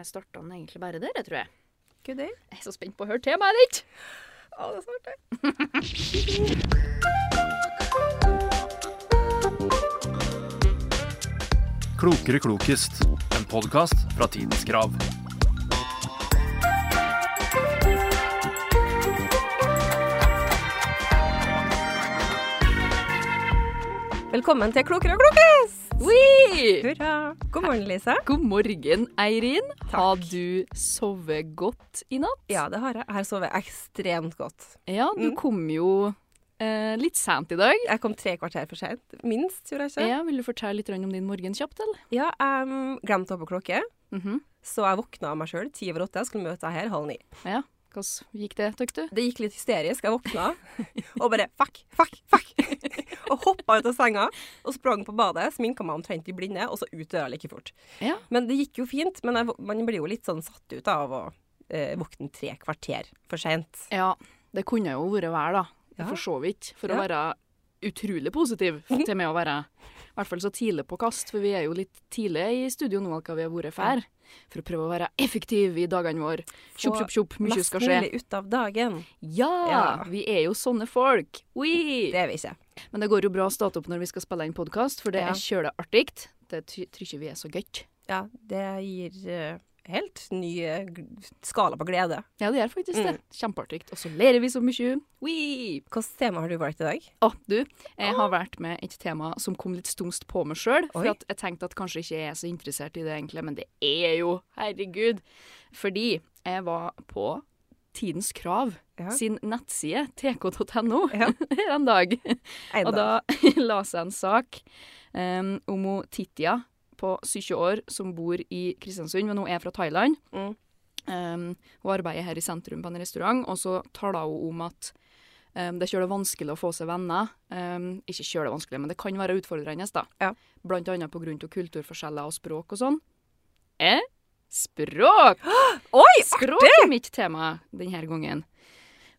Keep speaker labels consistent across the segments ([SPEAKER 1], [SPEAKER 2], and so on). [SPEAKER 1] Jeg starta den egentlig bare der, jeg tror jeg.
[SPEAKER 2] Gud, det
[SPEAKER 1] Jeg er så spent på å høre temaet ditt!
[SPEAKER 2] Å, det er så artig.
[SPEAKER 3] Klokere klokest. En podkast fra Tidens Krav.
[SPEAKER 2] Velkommen til Klokere og klokest!
[SPEAKER 1] Ui!
[SPEAKER 2] Hurra! God morgen, Lise.
[SPEAKER 1] God morgen, Eirin.
[SPEAKER 2] Takk.
[SPEAKER 1] Har du sovet godt i natt?
[SPEAKER 2] Ja, det har jeg. Jeg har sovet ekstremt godt.
[SPEAKER 1] Ja, du
[SPEAKER 2] Mm.
[SPEAKER 1] kom jo eh, litt sent i dag.
[SPEAKER 2] Jeg kom tre kvarter for sent. Minst, gjorde jeg ikke.
[SPEAKER 1] Ja, vil du fortelle litt grann om din morgen kjapt, eller?
[SPEAKER 2] Ja, jeg mm, glemte å ha på klokke,
[SPEAKER 1] Mhm.
[SPEAKER 2] så jeg våkna av meg sjøl ti over åtte. Jeg skulle møte deg her halv ni.
[SPEAKER 1] Ja. Hvordan gikk det, tøkk du?
[SPEAKER 2] Det gikk litt hysterisk. Jeg våkna og bare fuck, fuck, fuck. og hoppa ut av senga og sprang på badet, sminka meg omtrent i blinde, og så ut døra like fort.
[SPEAKER 1] Ja.
[SPEAKER 2] Men det gikk jo fint. Men jeg, vå- man blir jo litt sånn satt ut av å eh, våkne tre kvarter for seint.
[SPEAKER 1] Ja, det kunne jo vært vær, da.
[SPEAKER 2] Ja.
[SPEAKER 1] For så vidt. For
[SPEAKER 2] Ja.
[SPEAKER 1] å være utrolig positiv til med å være. I hvert fall så tidlig på kast, for vi er jo litt tidlig i studio nå hva vi har vært før. For å prøve å være effektiv i dagene våre. Tjopp, tjopp, tjopp, mye skal skje.
[SPEAKER 2] mulig ut av dagen.
[SPEAKER 1] Ja,
[SPEAKER 2] Ja.
[SPEAKER 1] vi er jo sånne folk. Ui.
[SPEAKER 2] Det er vi ikke.
[SPEAKER 1] Men det går jo bra å starte opp når vi skal spille inn podkast, for det
[SPEAKER 2] Ja.
[SPEAKER 1] er kjøleartig. Det ty- tror ikke vi er så gøy.
[SPEAKER 2] Ja, det gir eh, helt ny eh, g- skala på glede.
[SPEAKER 1] Ja, det gjør faktisk
[SPEAKER 2] Mm.
[SPEAKER 1] det. Kjempeartig. Og så ler vi så mye. Ui.
[SPEAKER 2] Hvilket tema har du valgt i dag?
[SPEAKER 1] Å, du, jeg har valgt med et tema som kom litt stumst på meg sjøl. For
[SPEAKER 2] Ah. Oi.
[SPEAKER 1] at jeg tenkte at kanskje ikke jeg er så interessert i det, egentlig. Men det er jo, herregud. Fordi jeg var på Tidens Krav
[SPEAKER 2] Ja.
[SPEAKER 1] sin nettside, tk.no,
[SPEAKER 2] Ja.
[SPEAKER 1] her en dag.
[SPEAKER 2] En
[SPEAKER 1] Og
[SPEAKER 2] dag.
[SPEAKER 1] da leste jeg en sak em, om hun Titya på 70 år som bor i Kristiansund, men hun er fra Thailand.
[SPEAKER 2] Mm.
[SPEAKER 1] Em, hun arbeider her i sentrum på en restaurant, og så taler hun om at em, det er kjølig vanskelig å få seg venner. Em, ikke kjølig vanskelig, men det kan være utfordrende, da.
[SPEAKER 2] Ja.
[SPEAKER 1] Blant annet på grunn av kulturforskjeller og språk og sånn. Eh? Språk!
[SPEAKER 2] Oi!
[SPEAKER 1] Språk er mitt tema denne gangen.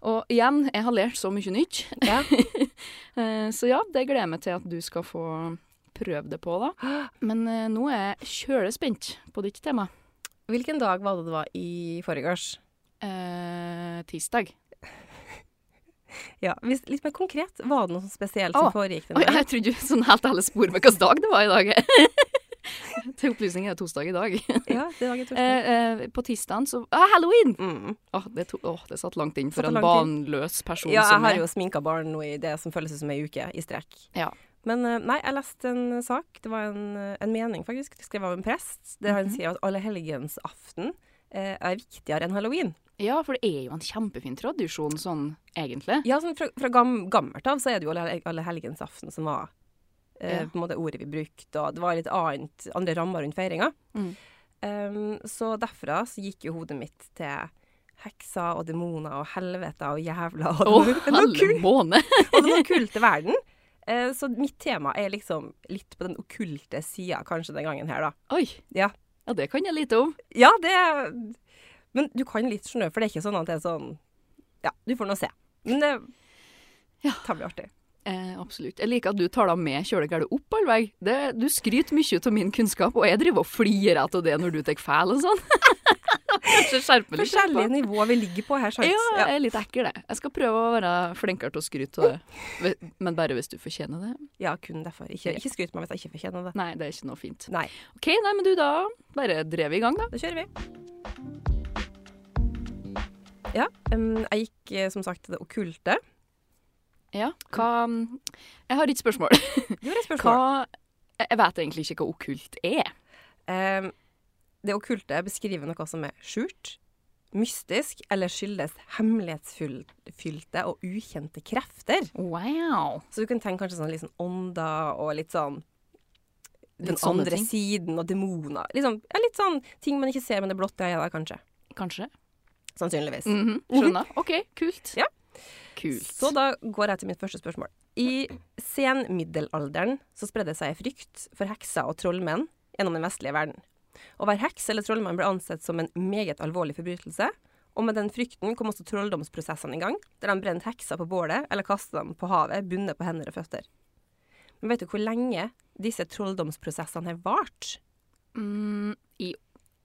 [SPEAKER 1] Og igjen, jeg har lært så mye nytt.
[SPEAKER 2] Ja.
[SPEAKER 1] Eh, så ja, det gleder jeg meg til at du skal få prøve det på, da. Men eh, nå er jeg kjølig spent på ditt tema.
[SPEAKER 2] Hvilken dag var det det var i forgårs?
[SPEAKER 1] Eh, tirsdag.
[SPEAKER 2] Ja, hvis, litt mer konkret, var det noe sånn spesielt
[SPEAKER 1] Å.
[SPEAKER 2] som foregikk den
[SPEAKER 1] Oi,
[SPEAKER 2] dagen?
[SPEAKER 1] jeg trodde du sånn helt ærlig spor med hvilken dag det var i dag. til opplysning er det torsdag i dag.
[SPEAKER 2] Ja, det var
[SPEAKER 1] Eh, eh, på tirsdagen så ah, Halloween!
[SPEAKER 2] Mm.
[SPEAKER 1] Åh, det, to, åh, det satt langt inn for
[SPEAKER 2] Satt
[SPEAKER 1] en
[SPEAKER 2] langt
[SPEAKER 1] banløs person
[SPEAKER 2] Ja, jeg
[SPEAKER 1] som
[SPEAKER 2] har
[SPEAKER 1] meg.
[SPEAKER 2] jo sminka barn nå i det som føles som ei uke i strekk.
[SPEAKER 1] Ja.
[SPEAKER 2] Men eh, nei, jeg leste en sak, det var en, eh, en mening faktisk, skrevet av en prest, der han sier at allehelgensaften eh, er viktigere enn halloween.
[SPEAKER 1] Ja, for det er jo en kjempefin tradisjon sånn, egentlig.
[SPEAKER 2] Ja, sånn fra, fra gam, gammelt av så er det jo alle, alle helgens aften som var eh,
[SPEAKER 1] Ja.
[SPEAKER 2] på en måte ordet vi brukte, og det var litt annet, andre rammer rundt feiringa.
[SPEAKER 1] Mm.
[SPEAKER 2] Um, så derfra så gikk jo hodet mitt til hekser og demoner og helvete og jævla og
[SPEAKER 1] Å,
[SPEAKER 2] det var- det var
[SPEAKER 1] halve
[SPEAKER 2] kul-
[SPEAKER 1] måned!
[SPEAKER 2] og den okkulte verden. Eh, så mitt tema er liksom litt på den okkulte sida kanskje den gangen her, da.
[SPEAKER 1] Oi.
[SPEAKER 2] Ja.
[SPEAKER 1] ja, det kan jeg lite om.
[SPEAKER 2] Ja, det er Men du kan litt snø, for det er ikke sånn at det er sånn Ja, du får nå se. Men det
[SPEAKER 1] Ja.
[SPEAKER 2] kan bli artig.
[SPEAKER 1] Eh, absolutt. Jeg liker at du tar da med kjølegæret opp all vei. Det, du skryter mye av min kunnskap, og jeg driver og flirer av det når du tar feil og sånn. Kanskje skjerpe litt.
[SPEAKER 2] Forskjellige nivåer vi ligger på her, sant?
[SPEAKER 1] Ja, jeg er litt ekkel, jeg. Jeg skal prøve å være flinkere til å skryte av det. Ve- Men bare hvis du fortjener det.
[SPEAKER 2] Ja, kun derfor. Ikke,
[SPEAKER 1] Ja.
[SPEAKER 2] ikke skryt meg hvis jeg ikke fortjener det.
[SPEAKER 1] Nei, det er ikke noe fint.
[SPEAKER 2] Nei.
[SPEAKER 1] OK, nei, men du, da bare drev vi i gang, da.
[SPEAKER 2] Da kjører vi. Ja, em, jeg gikk eh, som sagt til det okkulte.
[SPEAKER 1] Ja. Hva Jeg har et spørsmål.
[SPEAKER 2] Du har et spørsmål.
[SPEAKER 1] Hva Jeg jeg vet egentlig ikke hva okkult er.
[SPEAKER 2] Em, det okkulte beskriver noe som er skjult, mystisk eller skyldes hemmelighetsfylte og ukjente krefter.
[SPEAKER 1] Wow.
[SPEAKER 2] Så du kan tenke kanskje sånn litt sånn ånder og litt sånn den
[SPEAKER 1] Litt sånne
[SPEAKER 2] andre
[SPEAKER 1] ting.
[SPEAKER 2] siden og demoner. Liksom, ja, litt sånn ting man ikke ser med det blotte øyet, da, kanskje.
[SPEAKER 1] Kanskje.
[SPEAKER 2] Sannsynligvis.
[SPEAKER 1] Mhm, skjønner. OK, kult.
[SPEAKER 2] Ja.
[SPEAKER 1] Kult.
[SPEAKER 2] Så da går jeg til mitt første spørsmål. I senmiddelalderen så spredde det seg frykt for hekser og trollmenn gjennom den vestlige verden. Å være heks eller trollmann ble ansett som en meget alvorlig forbrytelse, og med den frykten kom også trolldomsprosessene i gang, der de brente hekser på bålet eller kastet dem på havet bundet på hender og føtter. Men vet du hvor lenge disse trolldomsprosessene har vart?
[SPEAKER 1] Mm, i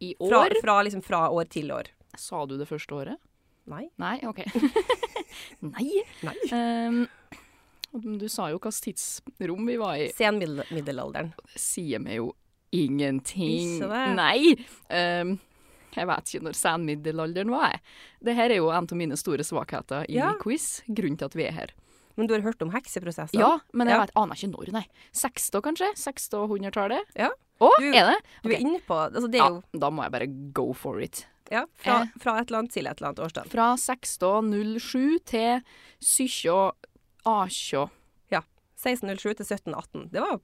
[SPEAKER 1] I
[SPEAKER 2] Fra,
[SPEAKER 1] år?
[SPEAKER 2] fra, liksom, fra år til år.
[SPEAKER 1] Sa du det første året?
[SPEAKER 2] Nei.
[SPEAKER 1] Nei, OK. Nei.
[SPEAKER 2] Nei.
[SPEAKER 1] Ehm, du sa jo hvilket tidsrom vi var i.
[SPEAKER 2] Sen middel middelalderen.
[SPEAKER 1] Sier meg jo ingenting.
[SPEAKER 2] Ikke det.
[SPEAKER 1] Nei. Ehm, jeg vet ikke når senmiddelalderen var. jeg. Det her er jo en av mine store svakheter i
[SPEAKER 2] Ja.
[SPEAKER 1] quiz. Grunnen til at vi er her.
[SPEAKER 2] Men du har hørt om hekseprosesser?
[SPEAKER 1] Ja, men jeg
[SPEAKER 2] Ja.
[SPEAKER 1] vet, aner ikke når, nei. 60 kanskje? 60- og 100-tallet?
[SPEAKER 2] Ja.
[SPEAKER 1] Å,
[SPEAKER 2] Du-
[SPEAKER 1] er det?
[SPEAKER 2] Du er inne på altså Det
[SPEAKER 1] Ja,
[SPEAKER 2] er jo
[SPEAKER 1] da må jeg bare go for it.
[SPEAKER 2] ja, fra,
[SPEAKER 1] Eh.
[SPEAKER 2] fra et eller annet til et eller annet årstall.
[SPEAKER 1] Fra 1607 til 1718.
[SPEAKER 2] 1607 til 1718. Det var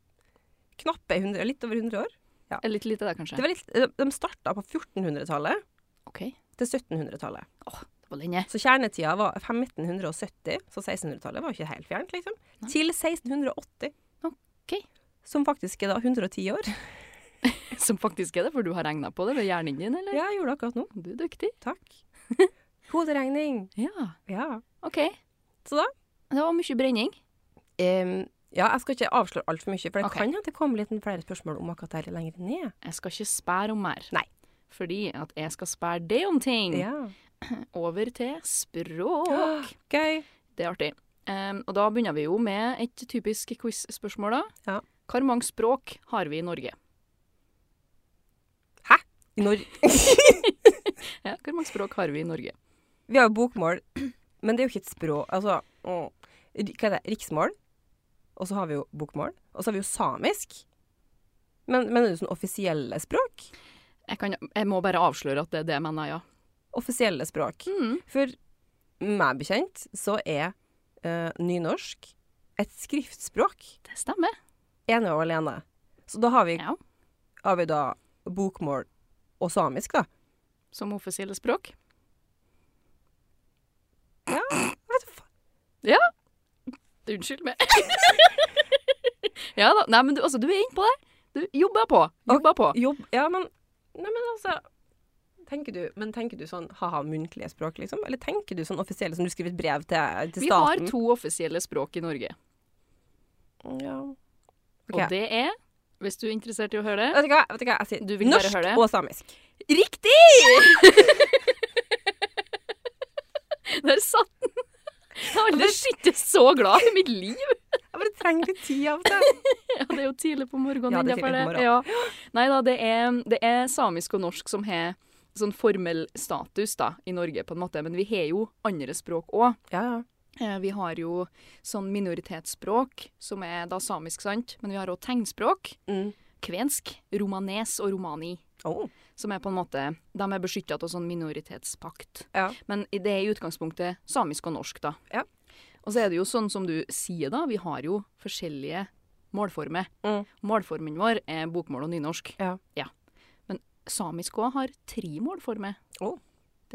[SPEAKER 2] knappe 100, litt over 100 år.
[SPEAKER 1] Er Litt lite der, kanskje?
[SPEAKER 2] Det var litt, de starta på 1400-tallet
[SPEAKER 1] OK. Det
[SPEAKER 2] til 1700-tallet.
[SPEAKER 1] var lenge.
[SPEAKER 2] Så kjernetida var 1570, så 1600-tallet var ikke helt fjernt, liksom.
[SPEAKER 1] Nei.
[SPEAKER 2] Til 1680.
[SPEAKER 1] Ok.
[SPEAKER 2] Som faktisk er da 110 år.
[SPEAKER 1] Som faktisk er det, for du har regna på det med hjernen din, eller?
[SPEAKER 2] Ja, jeg gjorde det akkurat nå.
[SPEAKER 1] Du er dyktig.
[SPEAKER 2] Takk. Hoderegning.
[SPEAKER 1] Ja.
[SPEAKER 2] Ja.
[SPEAKER 1] OK.
[SPEAKER 2] Så da?
[SPEAKER 1] Det var mye brenning.
[SPEAKER 2] Em, ja, jeg skal ikke avsløre altfor mye, for det
[SPEAKER 1] Ok.
[SPEAKER 2] kan hende det kommer litt flere spørsmål om akkurat dette lenger ned.
[SPEAKER 1] Jeg skal ikke spære om mer.
[SPEAKER 2] Nei.
[SPEAKER 1] Fordi at jeg skal spære det om ting.
[SPEAKER 2] Ja.
[SPEAKER 1] Over til språk.
[SPEAKER 2] Gøy.
[SPEAKER 1] Det er artig. Em, og da begynner vi jo med et typisk quiz-spørsmål, da.
[SPEAKER 2] Ja.
[SPEAKER 1] Hvor mange språk har vi i Norge?
[SPEAKER 2] Når,
[SPEAKER 1] Ja, hvor mange språk har vi i Norge?
[SPEAKER 2] vi har jo bokmål, men det er jo ikke et språk Altså, mm, hva er det? Riksmål. Og så har vi jo bokmål. Og så har vi jo samisk. Men, men er det sånn offisielle språk?
[SPEAKER 1] Jeg, kan, jeg må bare avsløre at det er det jeg mener, ja.
[SPEAKER 2] Offisielle språk.
[SPEAKER 1] Mm.
[SPEAKER 2] For meg bekjent så er eh, nynorsk et skriftspråk
[SPEAKER 1] Det stemmer.
[SPEAKER 2] ene og alene. Så da har vi,
[SPEAKER 1] Ja.
[SPEAKER 2] har vi da bokmål og samisk, da.
[SPEAKER 1] Som offisielle språk.
[SPEAKER 2] Vet du fa-
[SPEAKER 1] Unnskyld meg. ja da. Nei, men du, altså, du er inne på det. Du jobber på. Jobber på.
[SPEAKER 2] Jobb Ja, men Nei, men altså Tenker du, men tenker du sånn ha-ha, muntlige språk, liksom? Eller tenker du sånn offisielle, som du skriver et brev til, eh, til
[SPEAKER 1] Vi har
[SPEAKER 2] staten? Mm,
[SPEAKER 1] to offisielle språk i Norge.
[SPEAKER 2] Ja.
[SPEAKER 1] Og det er, hvis du er interessert i å høre det
[SPEAKER 2] Vet du hva, vet du hva jeg sier?
[SPEAKER 1] Du vil bare
[SPEAKER 2] Norsk
[SPEAKER 1] høre det?
[SPEAKER 2] og samisk.
[SPEAKER 1] Riktig! Der satt den. Jeg har aldri sittet så glad i mitt liv.
[SPEAKER 2] Jeg bare trenger litt tid av og til.
[SPEAKER 1] Ja, det er jo tidlig på morgenen
[SPEAKER 2] Ja, det er
[SPEAKER 1] innenfor
[SPEAKER 2] tidlig på
[SPEAKER 1] det. Ja. Nei da, det er, det er samisk og norsk som har sånn formell status da, i Norge, på en måte. Men vi har jo andre språk òg.
[SPEAKER 2] Ja, ja.
[SPEAKER 1] Eh, Vi har jo sånn minoritetsspråk, som er da samisk, sant. Men vi har òg tegnspråk.
[SPEAKER 2] Mm.
[SPEAKER 1] Kvensk, romanes og romani.
[SPEAKER 2] Oh.
[SPEAKER 1] Som er på en måte De er beskytta av sånn minoritetspakt.
[SPEAKER 2] Ja.
[SPEAKER 1] Men det er i utgangspunktet samisk og norsk, da.
[SPEAKER 2] Ja.
[SPEAKER 1] Og så er det jo sånn som du sier, da. Vi har jo forskjellige målformer.
[SPEAKER 2] Mm.
[SPEAKER 1] Målformen vår er bokmål og nynorsk.
[SPEAKER 2] Ja.
[SPEAKER 1] Men samisk òg har tre målformer.
[SPEAKER 2] Å.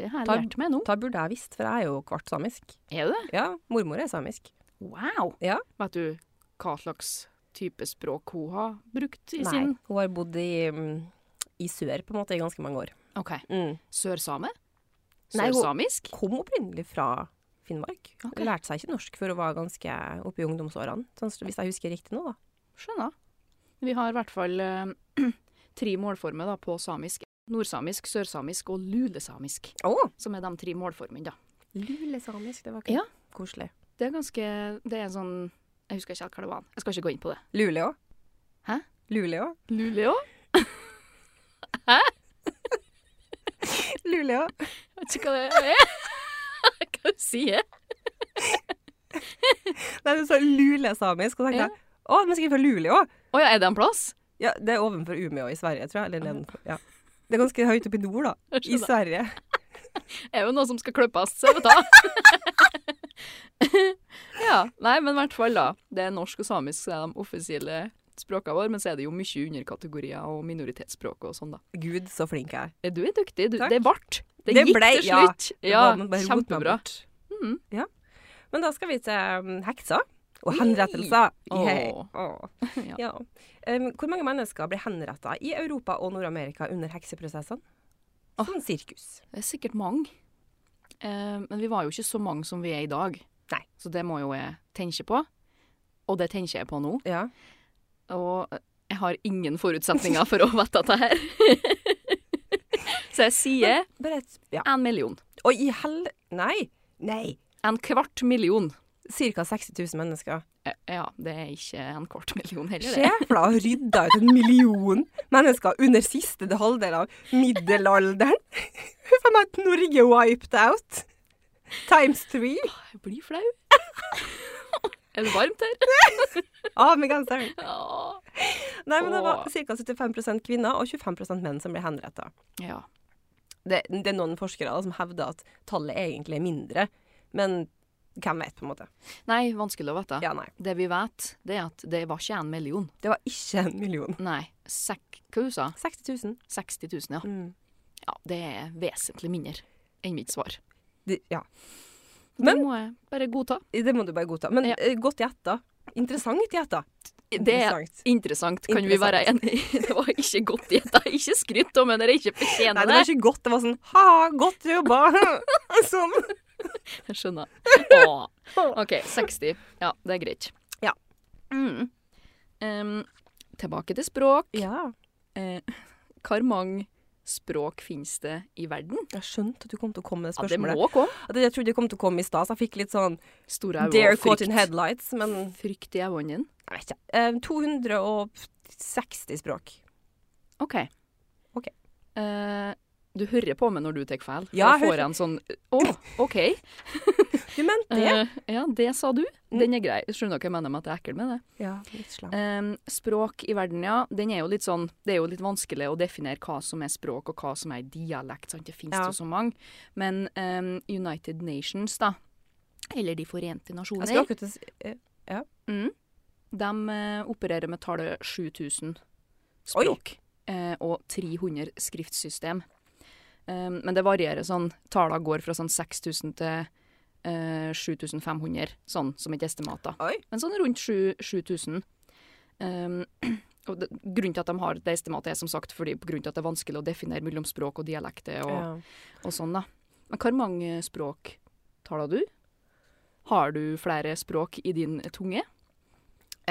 [SPEAKER 1] Det har jeg
[SPEAKER 2] Tar-
[SPEAKER 1] lært meg nå.
[SPEAKER 2] Da burde jeg visst, for jeg er jo kvart samisk.
[SPEAKER 1] Er det?
[SPEAKER 2] Ja, mormor er samisk.
[SPEAKER 1] Wow!
[SPEAKER 2] Ja.
[SPEAKER 1] Vet du hva slags type språk hun har brukt i
[SPEAKER 2] Nei,
[SPEAKER 1] sin
[SPEAKER 2] hun har bodd i, mm, i sør på en måte i ganske mange år.
[SPEAKER 1] OK.
[SPEAKER 2] Mm.
[SPEAKER 1] Sørsame?
[SPEAKER 2] Nei, hun-
[SPEAKER 1] Sørsamisk?
[SPEAKER 2] Kom opprinnelig fra Finnmark.
[SPEAKER 1] Ok.
[SPEAKER 2] Lærte seg ikke norsk før hun var ganske oppe i ungdomsårene, sånn, som- hvis jeg husker riktig nå, da.
[SPEAKER 1] Skjønner. Vi har i hvert fall eh, tre målformer da, på samisk. Nordsamisk, sørsamisk og lulesamisk,
[SPEAKER 2] Å!
[SPEAKER 1] som er de tre målformene. da.
[SPEAKER 2] Lulesamisk, det var
[SPEAKER 1] Ja.
[SPEAKER 2] koselig.
[SPEAKER 1] Det er ganske Det er sånn Jeg husker ikke helt hva det var. Jeg skal ikke gå inn på det.
[SPEAKER 2] Lule òg?
[SPEAKER 1] Hæ?
[SPEAKER 2] Lule òg?
[SPEAKER 1] Lule òg?
[SPEAKER 2] Lule òg.
[SPEAKER 1] Vet ikke hva det er. Hva du sier
[SPEAKER 2] Nei, du sa lulesamisk, og så tenkte
[SPEAKER 1] Ja.
[SPEAKER 2] jeg å, de skriver fra Lule òg!
[SPEAKER 1] Å ja, er det en plass?
[SPEAKER 2] Ja, det er ovenfor Umeå i Sverige, tror jeg. Eller nedenfor. Ja. Det er ganske høyt oppe i nord, da.
[SPEAKER 1] Jeg
[SPEAKER 2] I
[SPEAKER 1] skjønner.
[SPEAKER 2] Sverige.
[SPEAKER 1] er jo noe som skal klippes, så jeg vet da. ja. Nei, men i hvert fall, da. Det er norsk og samisk som er de offisielle språkene våre, men så er det jo mye underkategorier og minoritetsspråk og sånn, da. Eh,
[SPEAKER 2] Gud, så flink jeg er.
[SPEAKER 1] Du er duktig. Du,
[SPEAKER 2] Takk.
[SPEAKER 1] det ble. Det,
[SPEAKER 2] Det
[SPEAKER 1] gikk
[SPEAKER 2] ble,
[SPEAKER 1] til
[SPEAKER 2] ja.
[SPEAKER 1] slutt.
[SPEAKER 2] Det
[SPEAKER 1] Ja,
[SPEAKER 2] var- man bare rotet meg
[SPEAKER 1] kjempebra.
[SPEAKER 2] bort.
[SPEAKER 1] Mhm.
[SPEAKER 2] Ja. Men da skal vi til um, hekser og henrettelser.
[SPEAKER 1] Åh.
[SPEAKER 2] Yay. Åh.
[SPEAKER 1] Ja.
[SPEAKER 2] Ja. Um, hvor mange mennesker ble henretta i Europa og Nord-Amerika under hekseprosessene? Sånn sirkus.
[SPEAKER 1] Det er sikkert mange. Eh, men vi var jo ikke så mange som vi er i dag.
[SPEAKER 2] Nei.
[SPEAKER 1] Så det må jo jeg tenke på. Og det tenker jeg på nå. eh,
[SPEAKER 2] Ja.
[SPEAKER 1] Og jeg har ingen forutsetninger for å vite dette her. Hekse sier
[SPEAKER 2] Bare et ja.
[SPEAKER 1] en million.
[SPEAKER 2] Oi, i hel... Nei. Nei.
[SPEAKER 1] En kvart million.
[SPEAKER 2] Cirka 60 000 mennesker.
[SPEAKER 1] Eh, Ja, det er ikke en kvart million heller. det.
[SPEAKER 2] Sjefla har rydda ut en million mennesker under siste halvdel av middelalderen. Huff a meg, Norge wiped out. Times three.
[SPEAKER 1] Jeg blir flau. Er det varmt her?
[SPEAKER 2] Av med genseren.
[SPEAKER 1] Ja.
[SPEAKER 2] Nei, men det var
[SPEAKER 1] Åh.
[SPEAKER 2] ca. 75 kvinner og 25 menn som ble henretta.
[SPEAKER 1] Ja.
[SPEAKER 2] det, det er noen forskere da, som hevder at tallet egentlig er mindre, men hvem vet, på en måte.
[SPEAKER 1] Nei, vanskelig å vite.
[SPEAKER 2] Ja, nei.
[SPEAKER 1] Det vi vet, det er at det var ikke en million.
[SPEAKER 2] Det var ikke en million.
[SPEAKER 1] Nei, sek, hva du sa
[SPEAKER 2] 60 000.
[SPEAKER 1] 60 000, ja.
[SPEAKER 2] Mm.
[SPEAKER 1] ja. Det er vesentlig mindre enn mitt svar.
[SPEAKER 2] Det, ja.
[SPEAKER 1] Men, det må jeg bare godta.
[SPEAKER 2] det må du bare godta. Men
[SPEAKER 1] Ja.
[SPEAKER 2] eh, godt gjetta. Interessant gjetta.
[SPEAKER 1] Det er
[SPEAKER 2] Interessant.
[SPEAKER 1] interessant, kan vi være enige i. Det var ikke godt gjetta. Ikke skryt om henne, det er ikke
[SPEAKER 2] Nei,
[SPEAKER 1] fortjener
[SPEAKER 2] det var
[SPEAKER 1] det.
[SPEAKER 2] ikke godt. Det var sånn ha, godt jobba. sånn.
[SPEAKER 1] Jeg skjønner. Åh. OK, 60. Ja, det er greit.
[SPEAKER 2] Ja.
[SPEAKER 1] Mm. Em, tilbake til språk.
[SPEAKER 2] Ja.
[SPEAKER 1] Eh, hvor mange språk finnes det i verden?
[SPEAKER 2] Jeg skjønte at du kom til å komme med det
[SPEAKER 1] Ja, det
[SPEAKER 2] spørsmålet.
[SPEAKER 1] må komme.
[SPEAKER 2] At jeg trodde det kom til å komme i stad, så jeg fikk litt sånn
[SPEAKER 1] Store øyne
[SPEAKER 2] dare
[SPEAKER 1] og
[SPEAKER 2] caught in
[SPEAKER 1] frykt.
[SPEAKER 2] headlights, men
[SPEAKER 1] Frykt i øynene.
[SPEAKER 2] jeg vet ikke. Eh, 260 språk.
[SPEAKER 1] OK.
[SPEAKER 2] Ok.
[SPEAKER 1] Eh, du hører på meg når du tar feil.
[SPEAKER 2] Ja,
[SPEAKER 1] jeg
[SPEAKER 2] jeg
[SPEAKER 1] får en sånn Å, OK.
[SPEAKER 2] Du mente det? Mm.
[SPEAKER 1] Eh, ja, det sa du. Den er grei. Skjønner dere hva jeg mener med at jeg er ekkel med det?
[SPEAKER 2] ja, litt slam.
[SPEAKER 1] Eh, språk i verden, ja. Den er jo litt sånn, det er jo litt vanskelig å definere hva som er språk, og hva som er dialekt. Sant? Det finnes
[SPEAKER 2] Ja.
[SPEAKER 1] jo så mange. Men eh, United Nations, da, eller De forente
[SPEAKER 2] Jeg
[SPEAKER 1] nasjoner
[SPEAKER 2] skulle akkurat til å si- eh,
[SPEAKER 1] Mm. De eh, opererer med tallet 7000 språk eh, og 300 skriftsystem. Eh, men det varierer sånn. Tallene går fra sånn 6000 til eh, 7500, sånn som et estimat. da.
[SPEAKER 2] Oi.
[SPEAKER 1] Men sånn rundt sju- 7000. Um, og det, grunnen til at de har det estimatet, er som sagt fordi på grunn til at det er vanskelig å definere mellom språk og dialekter og,
[SPEAKER 2] Ja.
[SPEAKER 1] og sånn, da. Men hvor mange språk taler du? Har du flere språk i din tunge?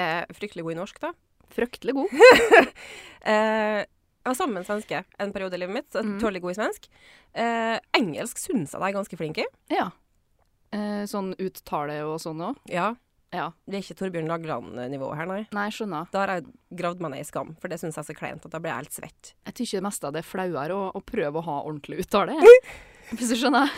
[SPEAKER 2] eh, fryktelig god i norsk, da.
[SPEAKER 1] Fryktelig god.
[SPEAKER 2] Eh, jeg var sammen med en svenske en periode i livet mitt, så jeg er
[SPEAKER 1] Mm.
[SPEAKER 2] tålelig god i svensk. Eh, engelsk syns jeg jeg er ganske flink i.
[SPEAKER 1] Ja. Eh, sånn uttale og sånn òg?
[SPEAKER 2] Ja.
[SPEAKER 1] Ja.
[SPEAKER 2] Det er ikke Torbjørn Lagland-nivået her, nei.
[SPEAKER 1] Nei, skjønner.
[SPEAKER 2] Da har jeg gravd meg ned i skam, for det syns jeg er så kleint at da blir jeg helt svett.
[SPEAKER 1] Jeg syns det meste av det er flauere å, å prøve å ha ordentlig uttale. Hvis du skjønner?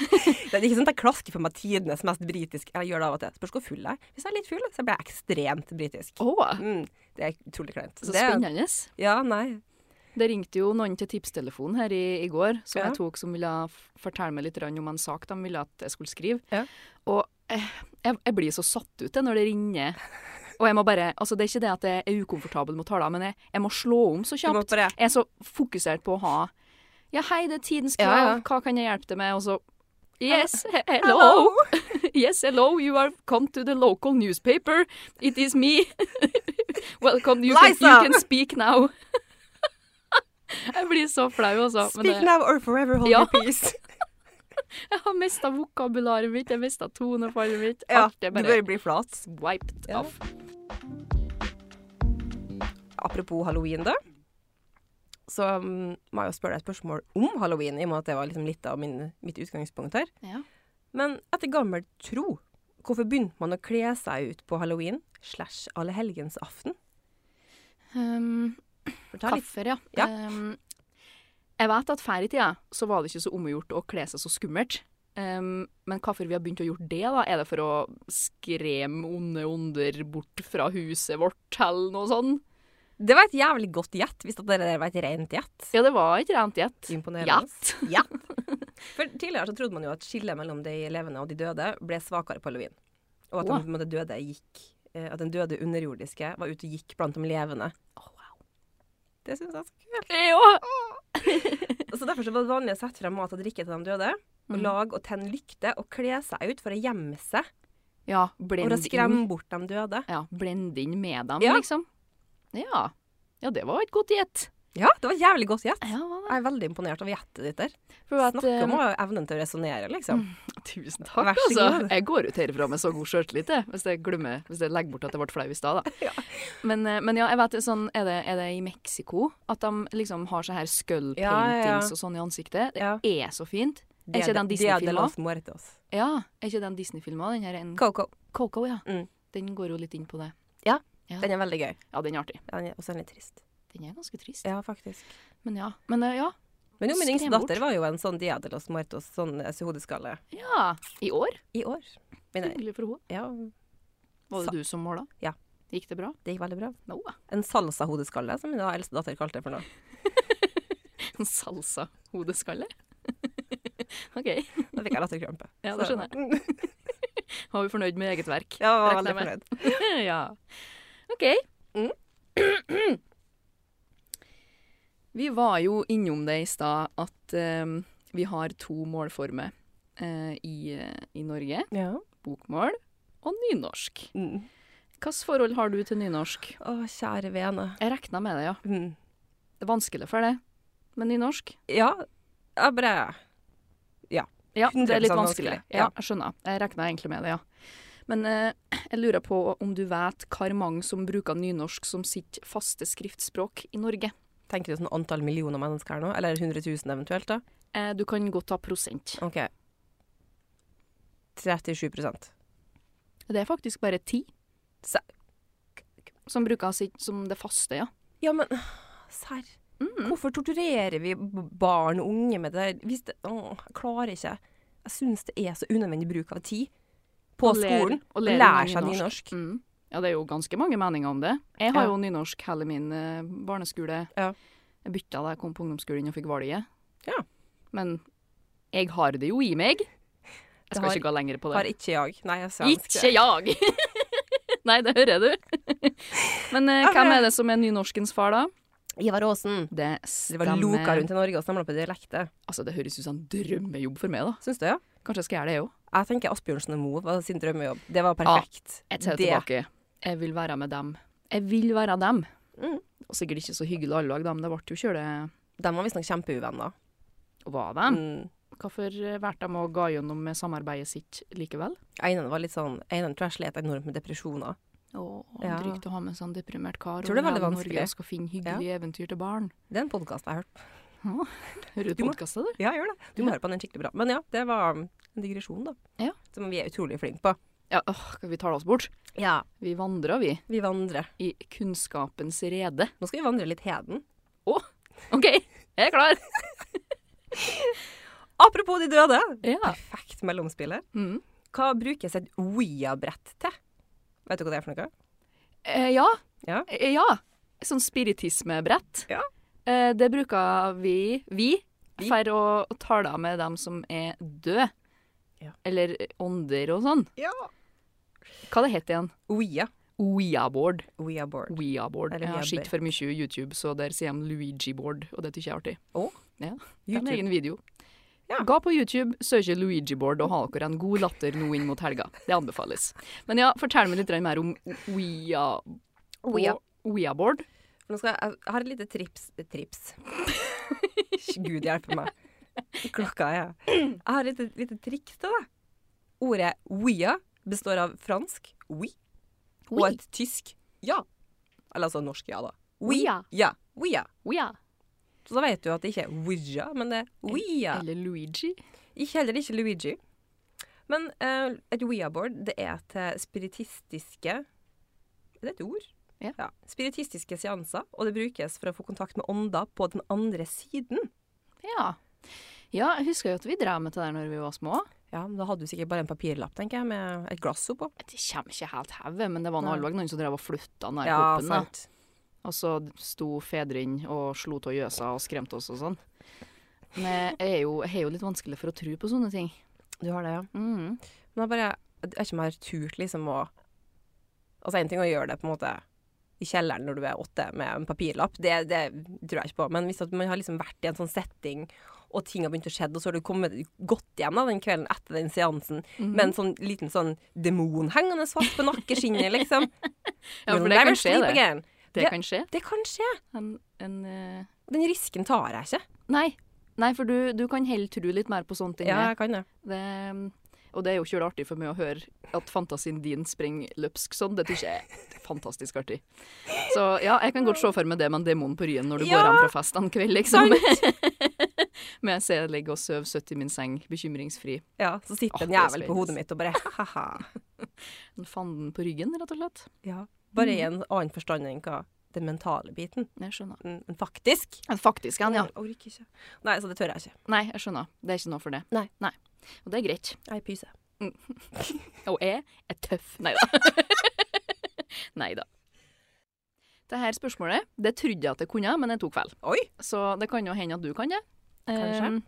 [SPEAKER 2] Det er ikke sånn at jeg klasker for meg tidenes mest britisk Jeg gjør det av og til. Spørs hvor full jeg er. Hvis jeg er litt full, så blir jeg ekstremt britisk.
[SPEAKER 1] Å,
[SPEAKER 2] Mm, det er utrolig kleint.
[SPEAKER 1] så
[SPEAKER 2] Det er-
[SPEAKER 1] spennende.
[SPEAKER 2] Ja, nei.
[SPEAKER 1] Det ringte jo noen til tipstelefonen her i, i går, som
[SPEAKER 2] Ja.
[SPEAKER 1] jeg tok, som ville f- fortelle meg litt grann om en sak de ville at jeg skulle skrive.
[SPEAKER 2] Ja.
[SPEAKER 1] Og eh, jeg, jeg blir så satt ut jeg, når det ringer. Og jeg må bare Altså, det er ikke det at jeg er ukomfortabel med taler, men jeg, jeg må slå om så
[SPEAKER 2] Du må
[SPEAKER 1] kjapt.
[SPEAKER 2] bare
[SPEAKER 1] Jeg er så fokusert på å ha Ja, hei, det er tidens krav.
[SPEAKER 2] Ja, ja.
[SPEAKER 1] Hva kan jeg hjelpe deg med? Og så Yes, he- hello. Yes, hello. You are come to the local newspaper. It is me. Welcome. You, can,
[SPEAKER 2] Liza!
[SPEAKER 1] you can speak now. Jeg blir så flau, altså. Men
[SPEAKER 2] Speak
[SPEAKER 1] det,
[SPEAKER 2] now or forever hold
[SPEAKER 1] Ja.
[SPEAKER 2] your peace.
[SPEAKER 1] jeg har mista vokabularet mitt, jeg har mista tonefallet mitt.
[SPEAKER 2] Ja,
[SPEAKER 1] Alt er
[SPEAKER 2] du
[SPEAKER 1] bare
[SPEAKER 2] bør bli flat.
[SPEAKER 1] wiped
[SPEAKER 2] Ja.
[SPEAKER 1] off.
[SPEAKER 2] Apropos halloween, da. Så mm, må jeg jo spørre deg et spørsmål om halloween, i og med at det var liksom litt av min, mitt utgangspunkt her.
[SPEAKER 1] Ja.
[SPEAKER 2] Men etter gammel tro, hvorfor begynte man å kle seg ut på halloween slash allehelgensaften?
[SPEAKER 1] Um,
[SPEAKER 2] Fortell litt.
[SPEAKER 1] Kaffer, ja.
[SPEAKER 2] Ja.
[SPEAKER 1] Ehm, jeg vet at før i tida så var det ikke så omgjort å kle seg så skummelt. Ehm, men hvorfor vi har begynt å gjøre det, da? Er det for å skremme onde ånder bort fra huset vårt, eller noe sånt?
[SPEAKER 2] Det var et jævlig godt gjett, hvis at det der var et rent gjett.
[SPEAKER 1] Ja, det var et rent gjett.
[SPEAKER 2] Imponerende.
[SPEAKER 1] Gjett.
[SPEAKER 2] Ja. For tidligere så trodde man jo at skillet mellom de levende og de døde ble svakere på halloween. Og
[SPEAKER 1] Åh.
[SPEAKER 2] at, de, på en måte døde gikk, eh, at den døde underjordiske var ute og gikk blant de levende. Det syns jeg er så kult.
[SPEAKER 1] Ja.
[SPEAKER 2] Så derfor så var det vanlig å sette frem mat og drikke til de døde. Og
[SPEAKER 1] Mhm.
[SPEAKER 2] lage og tenne lykter og kle seg ut for å gjemme seg.
[SPEAKER 1] ja,
[SPEAKER 2] For å
[SPEAKER 1] blend inn.
[SPEAKER 2] skremme bort de døde.
[SPEAKER 1] Ja, blend inn med dem,
[SPEAKER 2] Ja.
[SPEAKER 1] liksom. Ja. ja, det var et godt gjett.
[SPEAKER 2] Ja, det var jævlig godt gjett.
[SPEAKER 1] Ja, hva da?
[SPEAKER 2] Jeg er veldig imponert over gjettet ditt der.
[SPEAKER 1] For at,
[SPEAKER 2] Snakker om
[SPEAKER 1] eh, Mm.
[SPEAKER 2] å ha evnen til å resonnere, liksom.
[SPEAKER 1] Tusen takk,
[SPEAKER 2] Vær så
[SPEAKER 1] altså.
[SPEAKER 2] god.
[SPEAKER 1] Jeg går ut herifra med så god sjøltillit, jeg, hvis jeg glemmer, hvis jeg legger bort at jeg ble flau i stad, da. Men, eh, men ja, jeg vet, sånn, er, det, er det i Mexico at de liksom har sånne her skull
[SPEAKER 2] Ja, ja, ja.
[SPEAKER 1] paintings og sånn i ansiktet? Det
[SPEAKER 2] Ja.
[SPEAKER 1] er så fint. Er ikke den
[SPEAKER 2] Det er
[SPEAKER 1] Disney-filmen? Mm.
[SPEAKER 2] de los muertos.
[SPEAKER 1] Ja, er ikke den Disney-filmen? Den her en
[SPEAKER 2] Coco.
[SPEAKER 1] Coco, ja.
[SPEAKER 2] Mm.
[SPEAKER 1] Den går jo litt inn på det.
[SPEAKER 2] Den er veldig gøy.
[SPEAKER 1] Ja, den er artig.
[SPEAKER 2] Den er også litt trist.
[SPEAKER 1] Den er ganske trist.
[SPEAKER 2] Ja, faktisk.
[SPEAKER 1] Men ja. Men eh, ja.
[SPEAKER 2] Men jo, min yngste
[SPEAKER 1] Skrem bort.
[SPEAKER 2] datter var jo en sånn Dia de los muertos, sånn eh, suhodeskalle,
[SPEAKER 1] ja. I år.
[SPEAKER 2] i år. Men eh,
[SPEAKER 1] Hyggelig for henne.
[SPEAKER 2] ja,
[SPEAKER 1] Var
[SPEAKER 2] Sa-
[SPEAKER 1] det du som måla?
[SPEAKER 2] Ja.
[SPEAKER 1] Gikk det bra?
[SPEAKER 2] det gikk veldig bra.
[SPEAKER 1] No.
[SPEAKER 2] En salsa-hodeskalle, som min da eldste datter kalte det for noe.
[SPEAKER 1] En salsa-hodeskalle? OK.
[SPEAKER 2] Da fikk jeg latterkrampe.
[SPEAKER 1] Ja, det
[SPEAKER 2] Så-
[SPEAKER 1] skjønner Var vi fornøyd med eget verk?
[SPEAKER 2] Ja, jeg var veldig
[SPEAKER 1] Reklamer.
[SPEAKER 2] fornøyd.
[SPEAKER 1] ja. OK.
[SPEAKER 2] Mm.
[SPEAKER 1] vi var jo innom det i stad at eh, vi har to målformer eh, i, eh, i Norge.
[SPEAKER 2] Ja.
[SPEAKER 1] Bokmål og nynorsk.
[SPEAKER 2] Mm.
[SPEAKER 1] Hvilket forhold har du til nynorsk?
[SPEAKER 2] Å, kjære vene.
[SPEAKER 1] Jeg regna med det, ja.
[SPEAKER 2] Mm.
[SPEAKER 1] Det er vanskelig for deg med nynorsk.
[SPEAKER 2] Ja, jeg bare
[SPEAKER 1] Ja, det er litt
[SPEAKER 2] 100%
[SPEAKER 1] vanskelig.
[SPEAKER 2] vanskelig,
[SPEAKER 1] Ja,
[SPEAKER 2] ja.
[SPEAKER 1] jeg skjønner. Jeg regna egentlig med det, ja. Men eh, jeg lurer på om du vet hvor mange som bruker nynorsk som sitt faste skriftspråk i Norge?
[SPEAKER 2] Tenker du sånn antall millioner mennesker her nå? Eller 100 000 eventuelt, da?
[SPEAKER 1] Eh, du kan godt ta prosent.
[SPEAKER 2] OK. 37
[SPEAKER 1] Det er faktisk bare ti
[SPEAKER 2] Se-
[SPEAKER 1] som bruker sitt som det faste, ja. Mm.
[SPEAKER 2] Ja, men serr. Hvorfor torturerer vi b- barn og unge med det? der? Hvis det åh, jeg klarer ikke. Jeg syns det er så unødvendig bruk av tid på
[SPEAKER 1] Og ler-
[SPEAKER 2] skolen.
[SPEAKER 1] og
[SPEAKER 2] Og
[SPEAKER 1] ler
[SPEAKER 2] lære
[SPEAKER 1] mange
[SPEAKER 2] seg
[SPEAKER 1] norsk.
[SPEAKER 2] nynorsk.
[SPEAKER 1] Mm. Ja, det er jo ganske mange meninger om det. Jeg har
[SPEAKER 2] Ja.
[SPEAKER 1] jo nynorsk hele min eh, barneskole.
[SPEAKER 2] Ja.
[SPEAKER 1] Jeg bytta da jeg kom på ungdomsskolen og fikk valget.
[SPEAKER 2] Ja.
[SPEAKER 1] Men jeg har det jo i meg. Jeg
[SPEAKER 2] Det
[SPEAKER 1] skal
[SPEAKER 2] har-
[SPEAKER 1] ikke gå lenger på det.
[SPEAKER 2] Har ikke jeg. Nei, jeg er svensk.
[SPEAKER 1] Ikke jeg! Nei, det hører du. Men eh,
[SPEAKER 2] Ja,
[SPEAKER 1] hvem
[SPEAKER 2] men-
[SPEAKER 1] er det som er nynorskens far, da?
[SPEAKER 2] Ivar Aasen.
[SPEAKER 1] Det
[SPEAKER 2] Det
[SPEAKER 1] stemmer.
[SPEAKER 2] var loka rundt i Norge og samla på dialekter.
[SPEAKER 1] Altså, det høres ut som en drømmejobb for meg, da.
[SPEAKER 2] Syns du, ja?
[SPEAKER 1] Kanskje jeg skal gjøre det, jeg òg.
[SPEAKER 2] Jeg tenker Asbjørnsen og Moe var sin drømmejobb. Det var perfekt.
[SPEAKER 1] Jeg tar det
[SPEAKER 2] Det-
[SPEAKER 1] tilbake. Jeg vil være med dem. Jeg vil være dem.
[SPEAKER 2] Mm.
[SPEAKER 1] Og sikkert ikke så hyggelig alle lag, da, men det ble jo kjøle...
[SPEAKER 2] De var visstnok kjempeuvenner.
[SPEAKER 1] Og var dem.
[SPEAKER 2] Mm.
[SPEAKER 1] Hvorfor eh, valgte de å gå gjennom med samarbeidet sitt likevel?
[SPEAKER 2] Einen var litt sånn Einen tror jeg slet enormt med depresjoner.
[SPEAKER 1] Å,
[SPEAKER 2] Ja.
[SPEAKER 1] drygt å ha med en sånn deprimert kar
[SPEAKER 2] Tror det er
[SPEAKER 1] over
[SPEAKER 2] veldig
[SPEAKER 1] hele
[SPEAKER 2] vanskelig.
[SPEAKER 1] Norge og skal finne hyggelige eventyr til barn.
[SPEAKER 2] Det er en podkast jeg har hørt.
[SPEAKER 1] Hører du
[SPEAKER 2] Du må-
[SPEAKER 1] podkastet, du?
[SPEAKER 2] Ja, gjør det. Du må høre på den skikkelig bra. Men ja, det var um, en digresjon, da.
[SPEAKER 1] Ja.
[SPEAKER 2] Som vi er utrolig flinke på.
[SPEAKER 1] Ja, åh, skal vi tale oss bort?
[SPEAKER 2] Ja.
[SPEAKER 1] Vi vandrer, vi.
[SPEAKER 2] Vi vandrer.
[SPEAKER 1] I kunnskapens rede.
[SPEAKER 2] Nå skal vi vandre litt heden.
[SPEAKER 1] OK, jeg er klar!
[SPEAKER 2] Apropos de døde.
[SPEAKER 1] Ja.
[SPEAKER 2] Perfekt mellomspill her.
[SPEAKER 1] Mm.
[SPEAKER 2] Hva brukes et Ouija-brett til? Vet du hva det er for noe?
[SPEAKER 1] Eh, ja.
[SPEAKER 2] Ja.
[SPEAKER 1] Eh, ja. Sånn spiritismebrett.
[SPEAKER 2] Ja.
[SPEAKER 1] Eh, det bruker vi Vi,
[SPEAKER 2] Vi?
[SPEAKER 1] for å tale med dem som er døde.
[SPEAKER 2] Ja.
[SPEAKER 1] Eller ånder og sånn.
[SPEAKER 2] Ja.
[SPEAKER 1] Hva det het igjen?
[SPEAKER 2] Ouija.
[SPEAKER 1] Ouija-board.
[SPEAKER 2] Ouija-board.
[SPEAKER 1] Ouija-board.
[SPEAKER 2] Eller
[SPEAKER 1] Jeg har
[SPEAKER 2] Ouija-board.
[SPEAKER 1] sett for mye YouTube, så der sier de Luigi-board, og det syns jeg er artig.
[SPEAKER 2] Å?
[SPEAKER 1] Ja, Det er en
[SPEAKER 2] YouTube.
[SPEAKER 1] egen video.
[SPEAKER 2] Ja.
[SPEAKER 1] Gå på YouTube, søk Luigi-board og ha dere en god latter nå inn mot helga. Det anbefales. Men ja, fortell meg litt mer om Ouija-board.
[SPEAKER 2] Ouija.
[SPEAKER 1] Ouija-board.
[SPEAKER 2] For Nå skal jeg, jeg har et lite trips Trips. Gud hjelpe meg. Klokka er Jeg har et lite, lite triks til deg. Ordet ouija består av fransk oui og
[SPEAKER 1] Oui.
[SPEAKER 2] et tysk ja. Eller altså norsk ja, da.
[SPEAKER 1] Ouija.
[SPEAKER 2] Ja. Ouija.
[SPEAKER 1] Ouija.
[SPEAKER 2] Så da vet du at det ikke er ouija, men det er ouija.
[SPEAKER 1] Eller Luigi.
[SPEAKER 2] Ikke heller ikke Luigi. Men eh, et ouija-board, det er til spiritistiske Er det et ord?
[SPEAKER 1] Ja.
[SPEAKER 2] Spiritistiske seanser, og det brukes for å få kontakt med ånder på den andre siden.
[SPEAKER 1] Ja. ja, jeg husker jo at vi drev med det der når vi var små.
[SPEAKER 2] Ja, men Da hadde du sikkert bare en papirlapp, tenker jeg, med et glass oppå.
[SPEAKER 1] Det kommer ikke helt hodet, men det var nå
[SPEAKER 2] Nei.
[SPEAKER 1] alvorlig noen som drev og flytta den der
[SPEAKER 2] Ja,
[SPEAKER 1] koppen. Da.
[SPEAKER 2] sant.
[SPEAKER 1] Og så sto fedrene og slo av gjøsa og skremte oss og sånn. Men jeg er jo, jeg er jo litt vanskelig for å tro på sånne ting.
[SPEAKER 2] Du har det, ja.
[SPEAKER 1] Mm.
[SPEAKER 2] Men jeg bare Jeg vet ikke om jeg har turt liksom å Altså, én ting er å gjøre det på en måte i kjelleren når du er åtte med en papirlapp, det, det tror jeg ikke på. Men hvis at man har liksom vært i en sånn setting, og ting har begynt å skje, og så har du kommet godt hjem da, den kvelden etter den seansen
[SPEAKER 1] Mm. Mhm.
[SPEAKER 2] med en sånn liten sånn demon hengende fast på nakkeskinnet, liksom
[SPEAKER 1] Ja, for
[SPEAKER 2] You'll
[SPEAKER 1] det kan
[SPEAKER 2] never
[SPEAKER 1] skje,
[SPEAKER 2] sleep
[SPEAKER 1] det.
[SPEAKER 2] again.
[SPEAKER 1] Det
[SPEAKER 2] Ja.
[SPEAKER 1] kan skje.
[SPEAKER 2] Det kan skje.
[SPEAKER 1] En, en eh,
[SPEAKER 2] Den risken tar jeg ikke.
[SPEAKER 1] Nei, Nei for du, du kan heller tro litt mer på sånt enn
[SPEAKER 2] Ja,
[SPEAKER 1] jeg.
[SPEAKER 2] jeg kan det.
[SPEAKER 1] Det, og det er jo ikke artig for meg å høre at fantasien din springer løpsk sånn. Det syns jeg er fantastisk artig. Så ja, jeg kan godt se for meg det med en demon på ryen når du
[SPEAKER 2] Ja.
[SPEAKER 1] går hjem fra fest en kveld, liksom. Men jeg ser jeg ligger og sover søtt i min seng, bekymringsfri.
[SPEAKER 2] Ja, så sitter
[SPEAKER 1] Åh,
[SPEAKER 2] en
[SPEAKER 1] det er
[SPEAKER 2] jævel på hodet
[SPEAKER 1] spennende.
[SPEAKER 2] mitt og bare ha-ha.
[SPEAKER 1] En fanden på ryggen, rett og slett.
[SPEAKER 2] Ja. Bare
[SPEAKER 1] Mhm.
[SPEAKER 2] i en annen forstand enn hva den mentale biten.
[SPEAKER 1] Jeg skjønner.
[SPEAKER 2] Mm, men faktisk.
[SPEAKER 1] Men Faktisk, han, ja.
[SPEAKER 2] Jeg orker ikke. Nei, så det tør jeg ikke.
[SPEAKER 1] Nei, jeg skjønner. Det er ikke noe for det.
[SPEAKER 2] Nei.
[SPEAKER 1] Og det er greit.
[SPEAKER 2] Jeg pyser.
[SPEAKER 1] Og jeg er tøff. Nei da. Nei da. Dette spørsmålet det trodde jeg at jeg kunne, men jeg tok feil.
[SPEAKER 2] Oi!
[SPEAKER 1] Så det kan jo hende at du kan det.
[SPEAKER 2] Kanskje.
[SPEAKER 1] Ehm,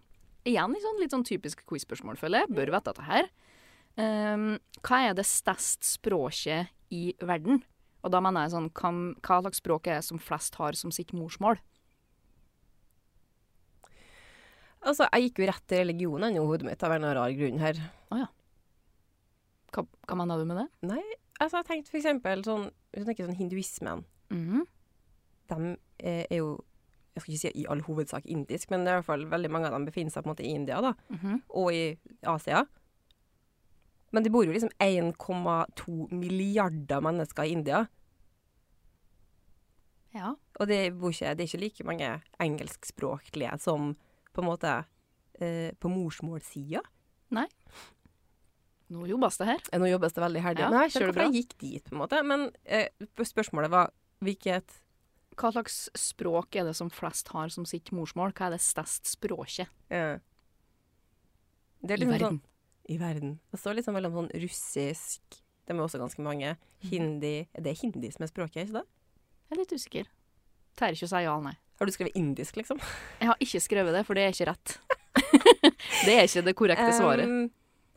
[SPEAKER 1] igjen litt sånn, litt sånn typisk quiz-spørsmål, føler jeg. Bør vite dette her. Ehm, hva er det største språket i verden? Og da mener jeg sånn, hva, hva slags språk er det som flest har som sitt morsmål?
[SPEAKER 2] Altså, jeg gikk jo rett til religionen i hodet mitt av en eller annen rar grunn her.
[SPEAKER 1] Hva, hva mener du med det?
[SPEAKER 2] Altså, jeg tenkte for eksempel sånn, hvis du tenker sånn hinduismen, Mm-hmm.
[SPEAKER 1] Mhm.
[SPEAKER 2] de eh, er jo, jeg skal ikke si i all hovedsak indisk, men det er i hvert fall veldig mange av dem befinner seg på en måte i India da,
[SPEAKER 1] Mhm.
[SPEAKER 2] og i Asia. Men det bor jo liksom 1,2 milliarder mennesker i India,
[SPEAKER 1] Ja.
[SPEAKER 2] og det, bor ikke, det er ikke like mange engelskspråklige som på en måte eh, på morsmålsida.
[SPEAKER 1] Nå jobbes det her.
[SPEAKER 2] Eh, Nå jobbes det veldig herdig.
[SPEAKER 1] Ja,
[SPEAKER 2] men jeg
[SPEAKER 1] kjører
[SPEAKER 2] skjønner hvorfor jeg gikk dit, på en måte. Men eh, spørsmålet var hvilket
[SPEAKER 1] Hva slags språk er det som flest har som sitt morsmål? Hva er det største språket
[SPEAKER 2] eh, det er
[SPEAKER 1] i
[SPEAKER 2] liksom
[SPEAKER 1] verden?
[SPEAKER 2] Sånn, I verden. Det står liksom mellom sånn russisk De er også ganske mange.
[SPEAKER 1] Mhm.
[SPEAKER 2] Hindi Er det hindi som er språket, ikke det?
[SPEAKER 1] Jeg er litt usikker. Tør ikke å si ja eller nei.
[SPEAKER 2] Har du skrevet indisk, liksom?
[SPEAKER 1] Jeg har ikke skrevet det, for det er ikke rett. det er ikke det korrekte svaret.
[SPEAKER 2] Um,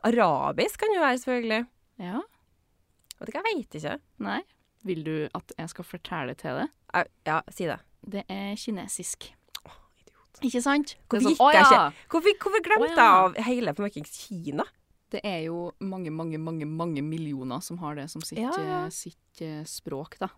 [SPEAKER 2] arabisk kan jo være, selvfølgelig.
[SPEAKER 1] Ja,
[SPEAKER 2] Vet du hva, jeg veit ikke.
[SPEAKER 1] nei. Vil du at jeg skal fortelle til det?
[SPEAKER 2] Au, ja, si det.
[SPEAKER 1] Det er kinesisk.
[SPEAKER 2] idiot.
[SPEAKER 1] Ikke sant? Det er
[SPEAKER 2] Hvorfor
[SPEAKER 1] sånn,
[SPEAKER 2] gikk jeg
[SPEAKER 1] «Å ja!»
[SPEAKER 2] ikke? Hvorfor, hvorfor glemte
[SPEAKER 1] Å,
[SPEAKER 2] jeg
[SPEAKER 1] ja.
[SPEAKER 2] av hele fuckings Kina?
[SPEAKER 1] Det er jo mange, mange, mange mange millioner som har det som sitt,
[SPEAKER 2] Ja, ja.
[SPEAKER 1] eh, sitt eh, språk, da.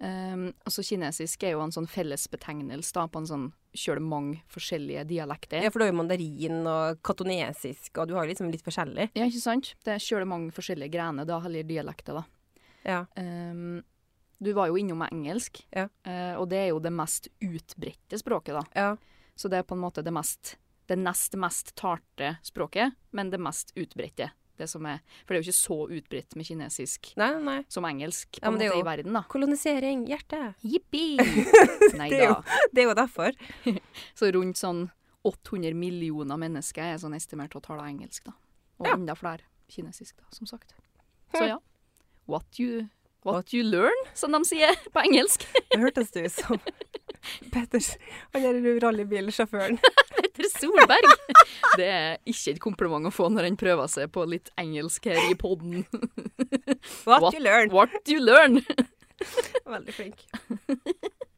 [SPEAKER 1] Um, altså kinesisk er jo en sånn fellesbetegnelse da, på en sånn sjøl mange forskjellige dialekter.
[SPEAKER 2] Ja, for du har jo mandarin og katonesisk, og du har jo liksom litt forskjellig.
[SPEAKER 1] Ja, ikke sant? Det er sjøl mange forskjellige grener, da, eller dialekter, da.
[SPEAKER 2] Ja.
[SPEAKER 1] Ehm, du var jo innom engelsk,
[SPEAKER 2] Ja.
[SPEAKER 1] eh, og det er jo det mest utbredte språket, da.
[SPEAKER 2] ja.
[SPEAKER 1] Så det er på en måte det mest det nest mest talte språket, men det mest utbredte. Det som er, for det er jo ikke så utbredt med kinesisk
[SPEAKER 2] Nei, nei, nei.
[SPEAKER 1] som engelsk på
[SPEAKER 2] Ja,
[SPEAKER 1] en
[SPEAKER 2] men det
[SPEAKER 1] måte
[SPEAKER 2] er
[SPEAKER 1] i
[SPEAKER 2] jo-
[SPEAKER 1] verden, da.
[SPEAKER 2] Kolonisering, hjerte.
[SPEAKER 1] Jippi! Nei
[SPEAKER 2] Det er jo-
[SPEAKER 1] da.
[SPEAKER 2] Det er jo derfor.
[SPEAKER 1] Så rundt sånn 800 millioner mennesker er sånn estimert til å tale engelsk, da. Og
[SPEAKER 2] Ja.
[SPEAKER 1] enda flere kinesisk, da, som sagt. Så ja. What you, what you learn, som de sier på engelsk.
[SPEAKER 2] Det hørtes det ut som Petter, han der rallybilsjåføren.
[SPEAKER 1] Petter Solberg. Det er ikke et kompliment å få når en prøver seg på litt engelsk her i podden.
[SPEAKER 2] What,
[SPEAKER 1] What?
[SPEAKER 2] you learn.
[SPEAKER 1] What you learn.
[SPEAKER 2] Veldig flink.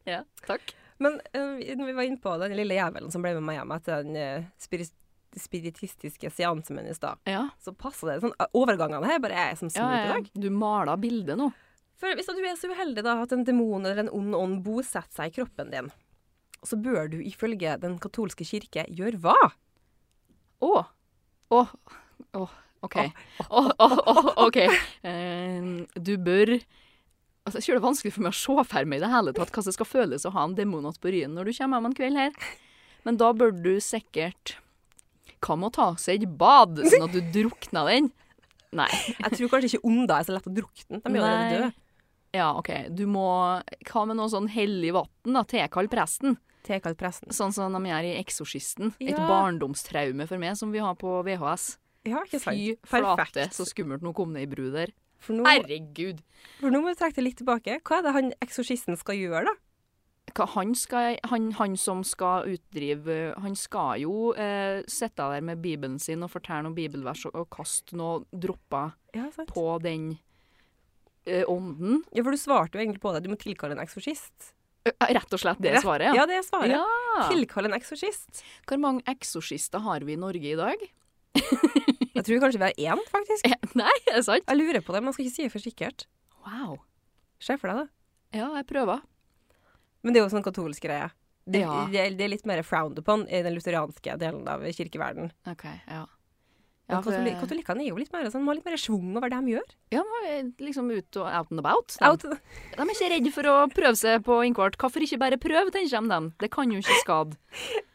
[SPEAKER 1] Ja, takk.
[SPEAKER 2] Men eh, vi- når vi var inne på den lille jævelen som ble med meg hjem etter den eh, spirit spiritistiske seansen min i stad,
[SPEAKER 1] Ja,
[SPEAKER 2] så passer det sånn. Overgangene her bare er som smooth i dag.
[SPEAKER 1] Du maler bildet nå.
[SPEAKER 2] For hvis at du er så uheldig da, at en demon eller en ond ånd bosetter seg i kroppen din, så bør du ifølge den katolske kirke gjøre hva?
[SPEAKER 1] Å. Å. Å. OK. Å, å, å, OK. Eh, Du bør Altså, jeg synes det er vanskelig for meg å se for meg i det hele tatt hva det skal føles å ha en demon igjen på ryen når du kommer hjem en kveld her. Men da bør du sikkert Hva med å ta seg et bad, sånn at du drukner den? Nei.
[SPEAKER 2] Jeg tror kanskje ikke ånder er så lett å drukne. De er jo
[SPEAKER 1] Nei.
[SPEAKER 2] allerede døde.
[SPEAKER 1] Ja, OK. Du må Hva med noe sånn hellig vann, da? Tilkall presten.
[SPEAKER 2] Tekalt presten.
[SPEAKER 1] Sånn som de gjør i Eksorsisten. Et
[SPEAKER 2] Ja.
[SPEAKER 1] barndomstraume for meg som vi har på VHS.
[SPEAKER 2] Ja, ikke sant?
[SPEAKER 1] Fy
[SPEAKER 2] Perfekt.
[SPEAKER 1] flate, så skummelt. Nå kom det i bru der.
[SPEAKER 2] For nå,
[SPEAKER 1] Herregud.
[SPEAKER 2] for nå må du trekke det litt tilbake. Hva er det han eksorsisten skal gjøre, da?
[SPEAKER 1] Hva, han, skal, han, han som skal utdrive Han skal jo eh, sitte der med Bibelen sin og fortelle noen bibelvers og, og kaste noen dropper
[SPEAKER 2] Ja, sant.
[SPEAKER 1] på den eh, ånden.
[SPEAKER 2] Ja, for du svarte jo egentlig på det. Du må tilkalle en eksorsist.
[SPEAKER 1] Ø, eh, Rett og slett det
[SPEAKER 2] Rett-
[SPEAKER 1] svaret, ja.
[SPEAKER 2] Ja, det er svaret. Tilkalle en eksorsist.
[SPEAKER 1] Hvor mange eksorsister har vi i Norge i dag?
[SPEAKER 2] Jeg tror kanskje vi har én, faktisk.
[SPEAKER 1] Eh, Nei, er det sant?
[SPEAKER 2] Jeg lurer på det, men jeg skal ikke si det for sikkert.
[SPEAKER 1] Wow.
[SPEAKER 2] Se for deg det.
[SPEAKER 1] Ja, jeg prøver.
[SPEAKER 2] Men det er jo sånn katolsk greie. Det,
[SPEAKER 1] Ja.
[SPEAKER 2] det, det er litt mer frowned upon i den lutheranske delen av kirkeverdenen.
[SPEAKER 1] OK, ja.
[SPEAKER 2] Ja,
[SPEAKER 1] for-
[SPEAKER 2] katoli Katolikkene er jo litt mer sånn, de har litt mer schwung over det de gjør.
[SPEAKER 1] ja, men liksom ut og out and about. De,
[SPEAKER 2] Out.
[SPEAKER 1] de er ikke redde for å prøve seg på innkvart. Hvorfor ikke bare prøve, tenker de. dem. Det kan jo ikke skade.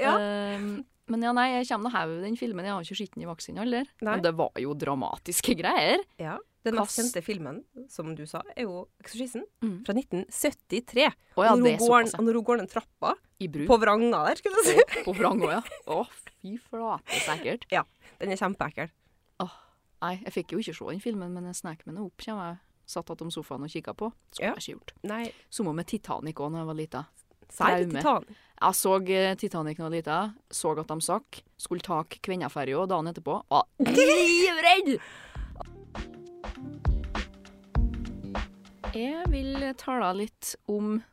[SPEAKER 2] Ja.
[SPEAKER 1] Ehm, men ja, nei, jeg kommer nå hev den filmen. Jeg har ikke sett den i voksen alder.
[SPEAKER 2] Nei.
[SPEAKER 1] Men det var jo dramatiske greier.
[SPEAKER 2] Ja. Den mest
[SPEAKER 1] Kast.
[SPEAKER 2] kjente filmen, som du sa, er jo 'Eksorsisten'
[SPEAKER 1] Mm.
[SPEAKER 2] fra 1973.
[SPEAKER 1] Å ja,
[SPEAKER 2] og
[SPEAKER 1] det
[SPEAKER 2] når
[SPEAKER 1] er
[SPEAKER 2] hun går,
[SPEAKER 1] såpass.
[SPEAKER 2] og når hun går den trappa,
[SPEAKER 1] I bruk
[SPEAKER 2] på vranga der, skulle jeg si.
[SPEAKER 1] og på vrang òg, ja. Å, fy flate, sikkert.
[SPEAKER 2] Den er kjempeekkel.
[SPEAKER 1] Nei, jeg fikk jo ikke se den filmen, men jeg snek meg nå opp, kommer jeg. Satt attom sofaen og kikka på. Skulle
[SPEAKER 2] Ja.
[SPEAKER 1] jeg ikke gjort.
[SPEAKER 2] Nei,
[SPEAKER 1] Samme med Titanic òg, da jeg var lita.
[SPEAKER 2] særlig
[SPEAKER 1] Traume.
[SPEAKER 2] Titan.
[SPEAKER 1] Jeg så eh, Titanic da jeg var lita, så at de sakk, skulle ta kvennaferja dagen etterpå. Var livredd! Jeg vil tale litt om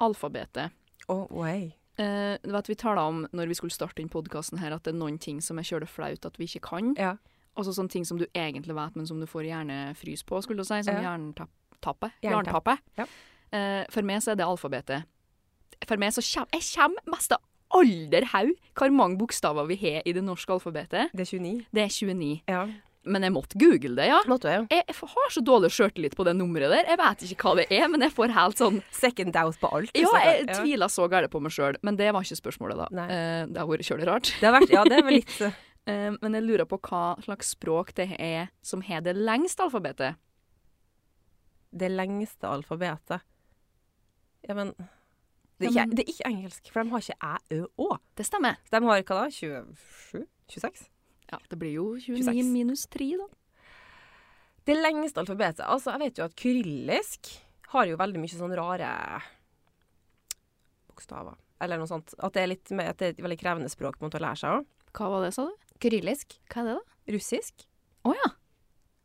[SPEAKER 1] alfabetet.
[SPEAKER 2] Oh, way.
[SPEAKER 1] Eh, du vet, vi tala om når vi skulle starte inn podkasten her, at det er noen ting som jeg kjøler flaut at vi ikke kan.
[SPEAKER 2] Ja.
[SPEAKER 1] Altså sånne ting som du egentlig vet, men som du får hjernefrys på, skulle du si. Som
[SPEAKER 2] Ja.
[SPEAKER 1] jerntappe.
[SPEAKER 2] Jerntapp.
[SPEAKER 1] Jerntappe.
[SPEAKER 2] Ja.
[SPEAKER 1] Eh, for meg så er det alfabetet. For meg så kjem, jeg kommer mest av alder haug hvor mange bokstaver vi har i det norske alfabetet.
[SPEAKER 2] Det er 29.
[SPEAKER 1] Det er 29.
[SPEAKER 2] Ja.
[SPEAKER 1] Men jeg måtte google det, ja.
[SPEAKER 2] Måtte jeg.
[SPEAKER 1] Jeg, jeg har så dårlig sjøltillit på det nummeret der. Jeg vet ikke hva det er, men jeg får helt sånn
[SPEAKER 2] Second doubt på alt. liksom.
[SPEAKER 1] Ja, jeg
[SPEAKER 2] stakkar.
[SPEAKER 1] tvila så gærent på meg sjøl, men det var ikke spørsmålet, da.
[SPEAKER 2] Nei.
[SPEAKER 1] Eh, det har vært kjølig rart.
[SPEAKER 2] Det har vært, ja, det var litt eh,
[SPEAKER 1] Eh, men jeg lurer på hva slags språk det er som har det lengste alfabetet.
[SPEAKER 2] det lengste alfabetet. Ja, men det er,
[SPEAKER 1] Ja,
[SPEAKER 2] ikke,
[SPEAKER 1] men-
[SPEAKER 2] det er ikke engelsk, for de har ikke æ, ø, å.
[SPEAKER 1] Det stemmer.
[SPEAKER 2] De har hva da? 27? 26?
[SPEAKER 1] Ja, det blir jo 29
[SPEAKER 2] 26.
[SPEAKER 1] minus 3, da.
[SPEAKER 2] Det lengste alfabetet. Altså, jeg vet jo at kyrillisk har jo veldig mye sånn rare bokstaver. Eller noe sånt. At det er, litt, mer- at det er et veldig krevende språk på en måte å lære seg òg.
[SPEAKER 1] Hva var det, sa du?
[SPEAKER 2] Kyrillisk.
[SPEAKER 1] Hva er det, da?
[SPEAKER 2] Russisk.
[SPEAKER 1] Å ja.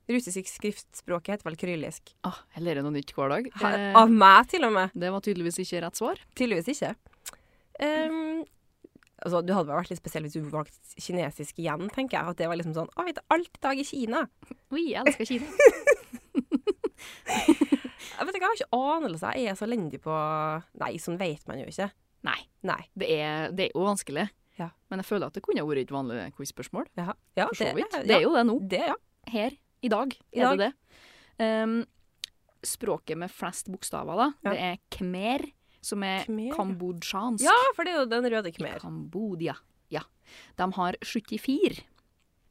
[SPEAKER 2] Russisk skriftspråk heter vel kyrillisk.
[SPEAKER 1] Ah, jeg lærer noe nytt hver dag.
[SPEAKER 2] Her,
[SPEAKER 1] Eh,
[SPEAKER 2] av meg, til og med.
[SPEAKER 1] det var tydeligvis ikke rett svar.
[SPEAKER 2] Tydeligvis ikke.
[SPEAKER 1] Mm.
[SPEAKER 2] Ehm, altså, du hadde vel vært litt spesiell hvis du valgte kinesisk igjen, tenker jeg. At det var liksom sånn Å, vet du, alt i dag i Kina.
[SPEAKER 1] Oi, jeg elsker Kina.
[SPEAKER 2] Jeg vet ikke, jeg har ikke anelse. Jeg er så elendig på Nei, sånn vet man jo ikke.
[SPEAKER 1] Nei,
[SPEAKER 2] Nei.
[SPEAKER 1] det er, det er jo vanskelig.
[SPEAKER 2] Ja.
[SPEAKER 1] Men jeg føler at det kunne ha vært et vanlig quiz-spørsmål.
[SPEAKER 2] Ja, ja
[SPEAKER 1] For så vidt.
[SPEAKER 2] ja,
[SPEAKER 1] Det er jo det nå.
[SPEAKER 2] Det, ja.
[SPEAKER 1] Her. I dag
[SPEAKER 2] I
[SPEAKER 1] er
[SPEAKER 2] dag.
[SPEAKER 1] det det. Ehm, språket med flest bokstaver, da,
[SPEAKER 2] Ja.
[SPEAKER 1] det er khmer, som er
[SPEAKER 2] Khmer, ja.
[SPEAKER 1] kambodsjansk.
[SPEAKER 2] ja, for det er jo den røde khmer.
[SPEAKER 1] Kambodia. Ja. De har 74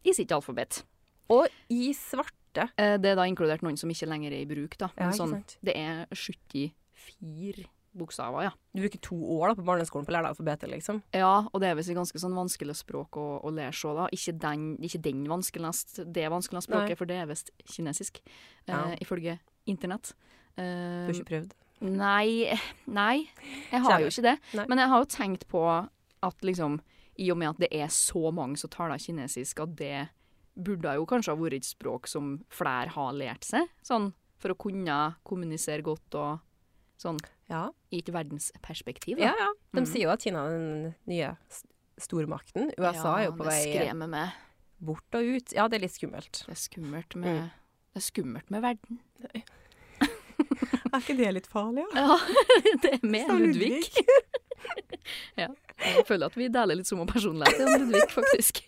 [SPEAKER 1] i sitt alfabet.
[SPEAKER 2] Og i svarte.
[SPEAKER 1] Eh, Det er da inkludert noen som ikke lenger er i bruk, da. Men
[SPEAKER 2] Ja, ikke
[SPEAKER 1] sånn,
[SPEAKER 2] sant.
[SPEAKER 1] det er 74 bokstaver, ja.
[SPEAKER 2] Du bruker to år da på barneskolen på å lære deg alfabetet, liksom.
[SPEAKER 1] Ja, og det er visst et ganske sånn vanskelig språk å, å lære seg, da. Ikke den, ikke den vanskeligst, det vanskeligste språket,
[SPEAKER 2] Nei.
[SPEAKER 1] for det er visst kinesisk,
[SPEAKER 2] Ja.
[SPEAKER 1] eh, ifølge internett. Eh,
[SPEAKER 2] Du har ikke prøvd.
[SPEAKER 1] Nei, eh, nei, jeg har jo ikke det.
[SPEAKER 2] Nei.
[SPEAKER 1] Men jeg har jo tenkt på at liksom, i og med at det er så mange som taler kinesisk, at det burde jo kanskje ha vært et språk som flere har lært seg, sånn, for å kunne kommunisere godt og sånn,
[SPEAKER 2] Ja,
[SPEAKER 1] i et verdensperspektiv.
[SPEAKER 2] ja.
[SPEAKER 1] da.
[SPEAKER 2] ja. De
[SPEAKER 1] Mm.
[SPEAKER 2] sier jo at Kina er den nye s- stormakten. USA er jo på
[SPEAKER 1] det
[SPEAKER 2] vei
[SPEAKER 1] skremmer meg.
[SPEAKER 2] bort og ut. Ja, det er litt skummelt.
[SPEAKER 1] Det er skummelt med,
[SPEAKER 2] Mm.
[SPEAKER 1] det er skummelt med verden.
[SPEAKER 2] Er ikke det litt farlig, ja?
[SPEAKER 1] Ja, det er med
[SPEAKER 2] Sa
[SPEAKER 1] Ludvig. ja, jeg føler at vi deler litt samme personlighet om Ludvig, faktisk.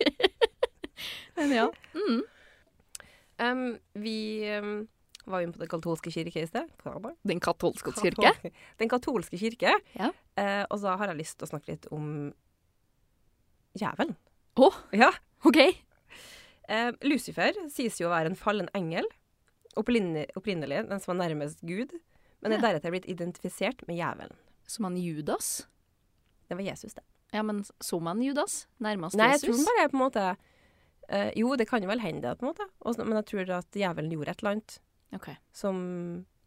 [SPEAKER 1] Men ja. Mm.
[SPEAKER 2] Um, vi um, var jo inne på den katolske kirke i sted. Hva var det?
[SPEAKER 1] Den katolske kirke.
[SPEAKER 2] Katol- Den katolske kirke.
[SPEAKER 1] Ja.
[SPEAKER 2] Eh, og så har jeg lyst til å snakke litt om djevelen.
[SPEAKER 1] Å!
[SPEAKER 2] Ja.
[SPEAKER 1] OK.
[SPEAKER 2] Eh, Lucifer sies jo å være en fallen engel. Opprinne- Opprinnelig den som var nærmest Gud, men er deretter blitt identifisert med djevelen.
[SPEAKER 1] Som han Judas.
[SPEAKER 2] Det var Jesus, det.
[SPEAKER 1] Ja, men som han Judas? Nærmest
[SPEAKER 2] Nei, jeg tror
[SPEAKER 1] Jesus?
[SPEAKER 2] den bare er på en måte eh, Jo, det kan jo vel hende, det, på en måte. Og så- men jeg tror at djevelen gjorde et eller annet
[SPEAKER 1] OK.
[SPEAKER 2] som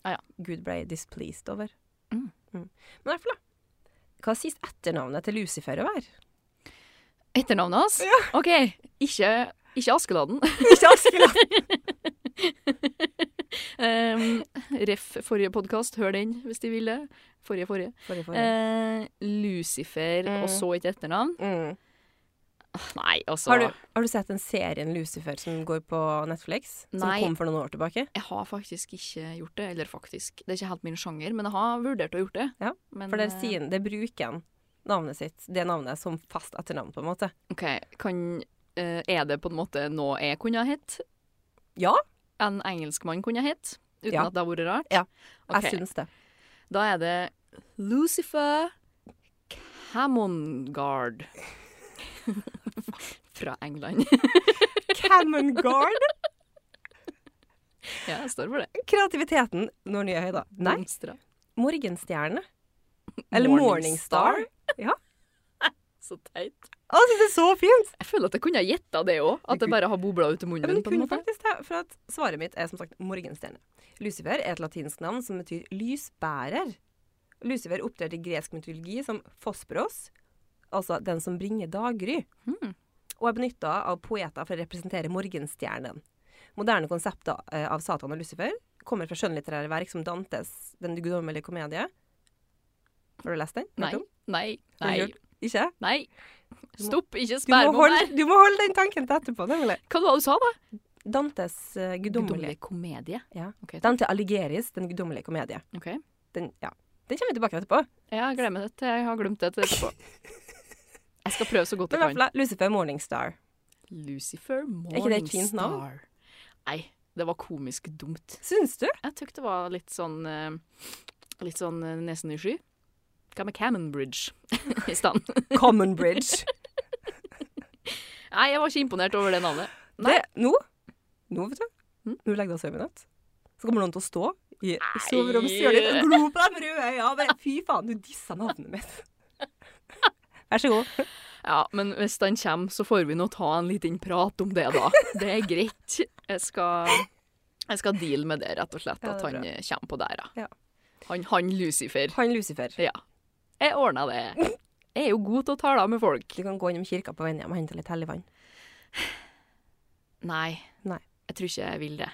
[SPEAKER 1] Ah, ja.
[SPEAKER 2] Gud ble displeased over.
[SPEAKER 1] Mm.
[SPEAKER 2] Men i hvert fall, da. Hva sies etternavnet til Lucifer å være?
[SPEAKER 1] Etternavnet hans? OK. Ikke, ikke Askeladden.
[SPEAKER 2] Ikke Askeland!
[SPEAKER 1] um, ref forrige podkast, hør den hvis de vil det. Forrige, forrige.
[SPEAKER 2] Eh, Forrige, forrige.
[SPEAKER 1] Eh, Lucifer,
[SPEAKER 2] Mm.
[SPEAKER 1] og så ikke etternavn.
[SPEAKER 2] Mm.
[SPEAKER 1] Nei, altså
[SPEAKER 2] Har du, har du sett den serien Lucifer som går på Netflix?
[SPEAKER 1] Nei.
[SPEAKER 2] Som kom for noen år tilbake?
[SPEAKER 1] Jeg har faktisk ikke gjort det. Eller faktisk, det er ikke helt min sjanger, men jeg har vurdert å gjort det.
[SPEAKER 2] Ja,
[SPEAKER 1] men,
[SPEAKER 2] For der
[SPEAKER 1] eh,
[SPEAKER 2] sier han Det bruker han navnet sitt, det navnet, som fast etternavn, på en måte.
[SPEAKER 1] OK, kan eh, Er det på en måte noe jeg kunne ha hett?
[SPEAKER 2] Ja,
[SPEAKER 1] En engelskmann kunne ha hett? Uten
[SPEAKER 2] Ja.
[SPEAKER 1] at det har vært rart?
[SPEAKER 2] Ja.
[SPEAKER 1] Ok,
[SPEAKER 2] jeg syns det.
[SPEAKER 1] Da er det Lucifer Camongard. Fra England.
[SPEAKER 2] Cameron Guard!
[SPEAKER 1] ja, jeg står for det.
[SPEAKER 2] Kreativiteten når nye høyder. Nei,
[SPEAKER 1] Blomstra.
[SPEAKER 2] Morgenstjerne. Eller
[SPEAKER 1] Morningstar?
[SPEAKER 2] Morningstar. Ja.
[SPEAKER 1] Så teit.
[SPEAKER 2] Å, Jeg syns det er så fint!
[SPEAKER 1] Jeg føler at jeg kunne ha gjetta det òg. At det bare har bobla ut av munnen
[SPEAKER 2] Ja, men
[SPEAKER 1] min.
[SPEAKER 2] det
[SPEAKER 1] på en
[SPEAKER 2] kunne
[SPEAKER 1] måte.
[SPEAKER 2] faktisk det, for at svaret mitt er som sagt morgenstjerne. Lucifer er et latinsk navn som betyr lysbærer. Lucifer opptrer i gresk mytologi som Fospros, altså den som bringer daggry,
[SPEAKER 1] Hmm.
[SPEAKER 2] og er benytta av poeter for å representere morgenstjernen. Moderne konsepter eh, av Satan og Lucifer kommer fra skjønnlitterære verk som Dantes Den guddommelige komedie. Har du lest den? Hørt
[SPEAKER 1] Nei.
[SPEAKER 2] om?
[SPEAKER 1] Nei.
[SPEAKER 2] Har
[SPEAKER 1] Nei.
[SPEAKER 2] du hørt? Ikke?
[SPEAKER 1] Nei. Stopp. Ikke
[SPEAKER 2] Du må,
[SPEAKER 1] spær meg
[SPEAKER 2] holde,
[SPEAKER 1] mer.
[SPEAKER 2] du må holde den tanken til etterpå, nemlig.
[SPEAKER 1] Hva var det du sa, da?
[SPEAKER 2] Dantes eh, guddommelige
[SPEAKER 1] Guddommelig komedie.
[SPEAKER 2] Ja.
[SPEAKER 1] Ok, takk.
[SPEAKER 2] Dante Aligeris, Den guddommelige komedie.
[SPEAKER 1] Ok.
[SPEAKER 2] Den, ja. den kommer vi tilbake til etterpå.
[SPEAKER 1] Jeg glemmer det til jeg har glemt det til etterpå. Jeg skal prøve så godt
[SPEAKER 2] Men i
[SPEAKER 1] jeg
[SPEAKER 2] hvert
[SPEAKER 1] kan.
[SPEAKER 2] fall Lucifer Morningstar.
[SPEAKER 1] Lucifer
[SPEAKER 2] Er ikke det et fint navn?
[SPEAKER 1] Morningstar. Nei, det var komisk dumt.
[SPEAKER 2] Syns du?
[SPEAKER 1] Jeg tykte det var litt sånn eh, Litt sånn eh, nesen i sky. Hva med Cammon Bridge i stand?
[SPEAKER 2] Common Bridge.
[SPEAKER 1] Nei, jeg var ikke imponert over det navnet. Nei.
[SPEAKER 2] det, nå, nå, vet du.
[SPEAKER 1] Mm.
[SPEAKER 2] Nå legger du deg og sover i natt. Så kommer noen til å stå i
[SPEAKER 1] Nei.
[SPEAKER 2] soveromshjørnet ditt og glo på de røde øynene. og bare, Fy faen, du dissa navnet mitt. Vær så god.
[SPEAKER 1] Ja, men hvis den kommer, så får vi nå ta en liten prat om det, da. Det er greit. Jeg skal, jeg skal deale med det, rett og slett,
[SPEAKER 2] Ja, det
[SPEAKER 1] at
[SPEAKER 2] er
[SPEAKER 1] han
[SPEAKER 2] bra.
[SPEAKER 1] eh, kommer på der, da.
[SPEAKER 2] Ja.
[SPEAKER 1] Han, han Lucifer.
[SPEAKER 2] Han Lucifer.
[SPEAKER 1] Ja. Jeg ordna det. Jeg er jo god til å tale med folk.
[SPEAKER 2] Du kan gå innom kirka på veien hjem og hente litt hellig vann.
[SPEAKER 1] Nei.
[SPEAKER 2] Nei.
[SPEAKER 1] Jeg tror ikke jeg vil det.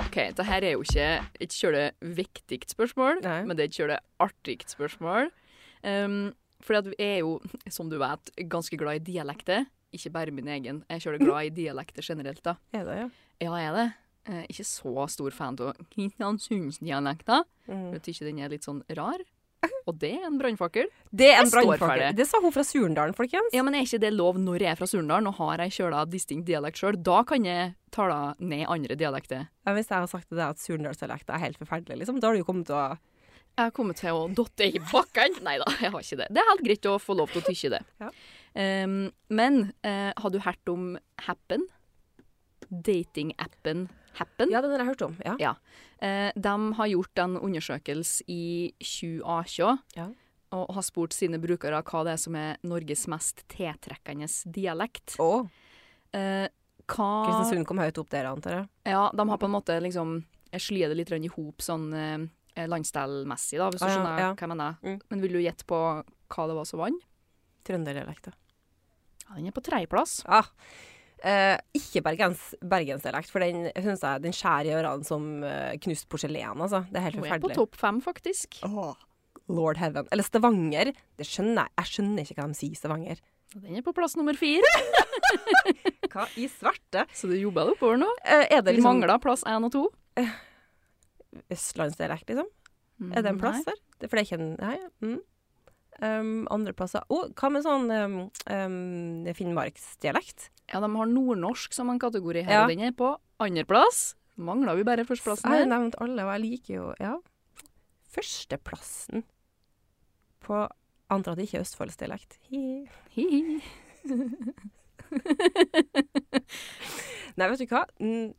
[SPEAKER 1] OK, dette her er jo ikke et kjøle viktig spørsmål,
[SPEAKER 2] Nei.
[SPEAKER 1] men det er et kjøle artig spørsmål. Um, fordi at vi er jo, som du vet, ganske glad i dialekter. Ikke bare min egen. Jeg er kjøle glad i dialekter generelt, da.
[SPEAKER 2] Er det, ja?
[SPEAKER 1] Ja, jeg er det. Eh, ikke så stor fan av Kristiansundsdialekta.
[SPEAKER 2] Mm.
[SPEAKER 1] Jeg syns den er litt sånn rar. Og det er en brannfakkel.
[SPEAKER 2] Det er en
[SPEAKER 1] Jeg står for
[SPEAKER 2] brannfakkel.
[SPEAKER 1] det.
[SPEAKER 2] Det sa hun fra Surendalen, folkens.
[SPEAKER 1] Ja, men er ikke det lov når jeg er fra Surndalen og har ei kjøla distinkt dialekt sjøl? Da kan jeg tale ned andre dialekter.
[SPEAKER 2] Ja, Hvis jeg har sagt til deg at surendalsdialekten er helt forferdelig, liksom, da har du jo kommet til å
[SPEAKER 1] Jeg har kommet til å dotte i bakken. Nei da, jeg har ikke det. Det er helt greit å få lov til å tykke det.
[SPEAKER 2] Ja.
[SPEAKER 1] Ehm, men eh, har du hørt om Happen? Datingappen Happen?
[SPEAKER 2] den har jeg hørt om. Ja.
[SPEAKER 1] Eh, de har gjort en undersøkelse i 2018
[SPEAKER 2] Ja.
[SPEAKER 1] og har spurt sine brukere hva det er som er Norges mest tiltrekkende dialekt.
[SPEAKER 2] Å,
[SPEAKER 1] Eh, hva
[SPEAKER 2] Kristiansund kom høyt opp der, antar jeg.
[SPEAKER 1] Ja, de har på en måte liksom Jeg slier det litt i hop sånn eh, landstellmessig, da, hvis du
[SPEAKER 2] Ah, ja,
[SPEAKER 1] skjønner
[SPEAKER 2] ja.
[SPEAKER 1] hva jeg mener.
[SPEAKER 2] Mm.
[SPEAKER 1] Men vil du gjette på hva det var som vant?
[SPEAKER 2] Trønderdialekta.
[SPEAKER 1] Ja, den er på tredjeplass.
[SPEAKER 2] Ah. Eh, ikke bergens, bergensdialekt, for den synes jeg den skjærer i ørene som eh, knust porselen. Altså. Det er helt
[SPEAKER 1] Hun er på
[SPEAKER 2] forferdelig.
[SPEAKER 1] topp fem, faktisk.
[SPEAKER 2] Åh, Lord heaven. Eller Stavanger. Det skjønner jeg. Jeg skjønner ikke hva de sier, Stavanger.
[SPEAKER 1] Og den er på plass nummer fire,
[SPEAKER 2] Hva i svarte?
[SPEAKER 1] så du jobber deg oppover nå.
[SPEAKER 2] Eh, er
[SPEAKER 1] Vi
[SPEAKER 2] det liksom
[SPEAKER 1] mangler plass én og to.
[SPEAKER 2] østlandsdialekt, liksom? Er
[SPEAKER 1] Mm,
[SPEAKER 2] det en plass der? Det- For det er ikke en Nei. Mm. Um, andre plasser Å, hva med sånn um, um, finnmarksdialekt?
[SPEAKER 1] Ja, de har nordnorsk som en kategori her,
[SPEAKER 2] Ja.
[SPEAKER 1] og den er på andreplass. Mangler vi bare førsteplassen
[SPEAKER 2] Jeg har
[SPEAKER 1] her?
[SPEAKER 2] nevnt alle, og jeg liker jo Ja. Førsteplassen på Antar at det ikke er Østfoldsdialekt. Hi.
[SPEAKER 1] Hi-hi.
[SPEAKER 2] Nei, vet du hva? Mm,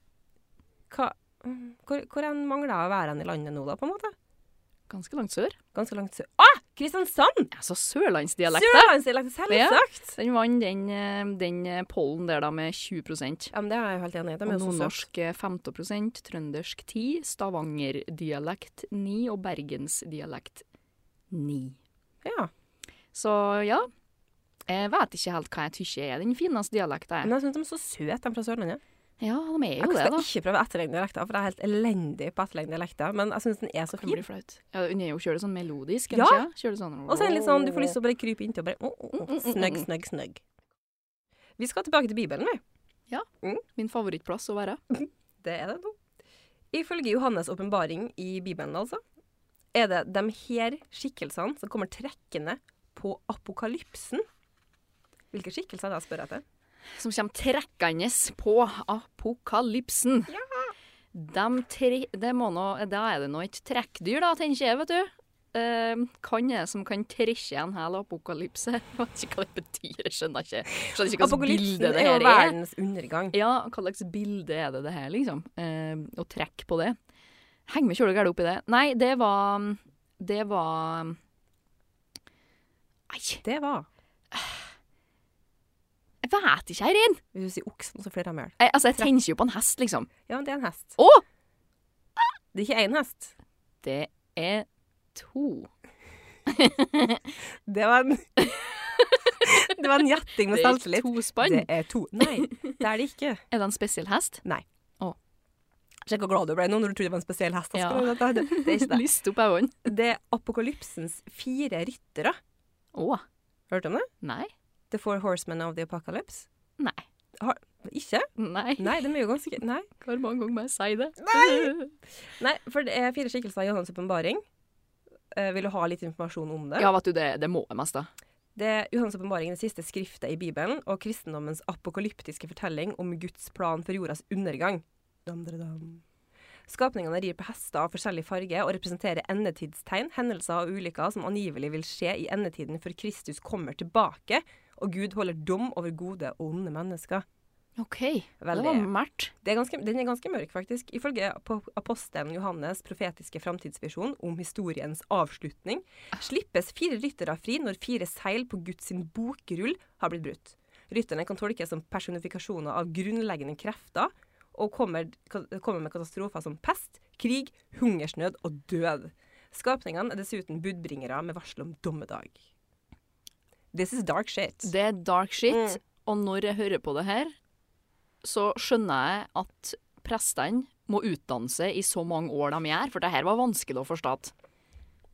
[SPEAKER 2] hva mm, hvor, hvor en mangler jeg å være hen i landet nå, da, på en måte?
[SPEAKER 1] Ganske langt sør.
[SPEAKER 2] Ganske langt sør. Ah! Kristiansand!
[SPEAKER 1] Altså sørlandsdialekt.
[SPEAKER 2] Sørlandsdialekt, selvsagt!
[SPEAKER 1] Den vant den, eh, den eh, pollen der da med 20
[SPEAKER 2] Ja, men det er jeg jo helt enig i. De er
[SPEAKER 1] Og
[SPEAKER 2] jo så søte.
[SPEAKER 1] nordnorsk eh, 15 trøndersk 10 stavangerdialekt 9 og bergensdialekt 9.
[SPEAKER 2] Ja.
[SPEAKER 1] Så ja, jeg vet ikke helt hva jeg tykker er den fineste dialekten.
[SPEAKER 2] Men jeg syns de er så søte, de fra Sørlandet.
[SPEAKER 1] Ja, de er
[SPEAKER 2] Jeg
[SPEAKER 1] jo det,
[SPEAKER 2] skal
[SPEAKER 1] da.
[SPEAKER 2] ikke prøve å etterligne dialekter, for jeg er helt elendig på å etterligne dialekter. Men jeg syns den er så
[SPEAKER 1] Det
[SPEAKER 2] fin.
[SPEAKER 1] blir flaut. Ja, Hun er jo kjører sånn melodisk,
[SPEAKER 2] Ja.
[SPEAKER 1] eller ikke? Kjører sånn
[SPEAKER 2] Og så er den litt sånn, du får lyst til å bare krype inntil og bare oh,
[SPEAKER 1] Mm,
[SPEAKER 2] oh, oh, Snøgg, snøgg, snøgg. Vi skal tilbake til Bibelen, vi.
[SPEAKER 1] Min favorittplass å være.
[SPEAKER 2] Det er det nå. Ifølge Johannes' åpenbaring i Bibelen, altså, er det de her skikkelsene som kommer trekkende på apokalypsen. Hvilke skikkelser er det jeg spør etter?
[SPEAKER 1] Som kommer trekkende på apokalypsen. Dem tre, det må nå, da er det nå et trekkdyr, da, tenker jeg, vet du. Eh, kan det som kan trekke en hel apokalypse? Jeg vet ikke hva det betyr, jeg skjønner ikke. Skjønner ikke hva slags
[SPEAKER 2] Apokalypsen
[SPEAKER 1] bilde
[SPEAKER 2] er
[SPEAKER 1] det
[SPEAKER 2] jo
[SPEAKER 1] her er.
[SPEAKER 2] verdens undergang.
[SPEAKER 1] Ja, hva slags bilde er det det her, liksom? Eh, å trekke på det. Heng meg kjølig gærent opp i det. Nei, det var Det var Nei,
[SPEAKER 2] Det var
[SPEAKER 1] jeg vet ikke, Eirin!
[SPEAKER 2] Hvis du sier oksen, så flirer jeg med hjel.
[SPEAKER 1] Jeg, altså, jeg tenker jo på en hest, liksom.
[SPEAKER 2] Ja, men det er en hest.
[SPEAKER 1] Å!
[SPEAKER 2] Det er ikke én hest.
[SPEAKER 1] Det er to.
[SPEAKER 2] Det var en Det var en gjetting med
[SPEAKER 1] Det er ikke
[SPEAKER 2] selvtillit.
[SPEAKER 1] to
[SPEAKER 2] Det
[SPEAKER 1] spann.
[SPEAKER 2] er to. Nei, det er det ikke.
[SPEAKER 1] Er det en spesiell hest?
[SPEAKER 2] Sjekk hvor glad du ble nå når du trodde det var en spesiell hest.
[SPEAKER 1] Ja.
[SPEAKER 2] Astrid. Det, det, det er ikke det.
[SPEAKER 1] Lyst opp øynene.
[SPEAKER 2] Det er apokalypsens fire ryttere.
[SPEAKER 1] Å,
[SPEAKER 2] Hørt om det?
[SPEAKER 1] nei.
[SPEAKER 2] The Four Horsemen of the Apocalypse?
[SPEAKER 1] Nei.
[SPEAKER 2] Har, ikke?
[SPEAKER 1] Nei.
[SPEAKER 2] Nei, den er jo ganske Nei.
[SPEAKER 1] Hvor mange ganger må jeg si det? Nei!
[SPEAKER 2] Nei, for det er fire skikkelser i Johannes' åpenbaring. Eh, vil du ha litt informasjon om det?
[SPEAKER 1] Ja, vet du, det, det må jeg mest, da.
[SPEAKER 2] Det er Johannes' åpenbaring er det siste skriftet i Bibelen, og kristendommens apokalyptiske fortelling om Guds plan for jordas undergang. Dam, dam, dam. Skapningene rir på hester av forskjellig farge og representerer endetidstegn, hendelser og ulykker som angivelig vil skje i endetiden før Kristus kommer tilbake, og Gud holder dom over gode og onde mennesker.
[SPEAKER 1] OK. Det var
[SPEAKER 2] Veldig-
[SPEAKER 1] mørkt.
[SPEAKER 2] Det er ganske, den er ganske mørk, faktisk. Ifølge apo- apostelen Johannes' profetiske framtidsvisjon om historiens avslutning slippes fire ryttere fri når fire seil på Guds sin bokrull har blitt brutt. Rytterne kan tolkes som personifikasjoner av grunnleggende krefter og kommer, ka- kommer med katastrofer som pest, krig, hungersnød og død. Skapningene er dessuten budbringere med varsel om dommedag. This is dark shit.
[SPEAKER 1] Det er dark shit.
[SPEAKER 2] Mm.
[SPEAKER 1] Og når jeg hører på det her, så skjønner jeg at prestene må utdanne seg i så mange år de gjør, for det her var vanskelig å forstå.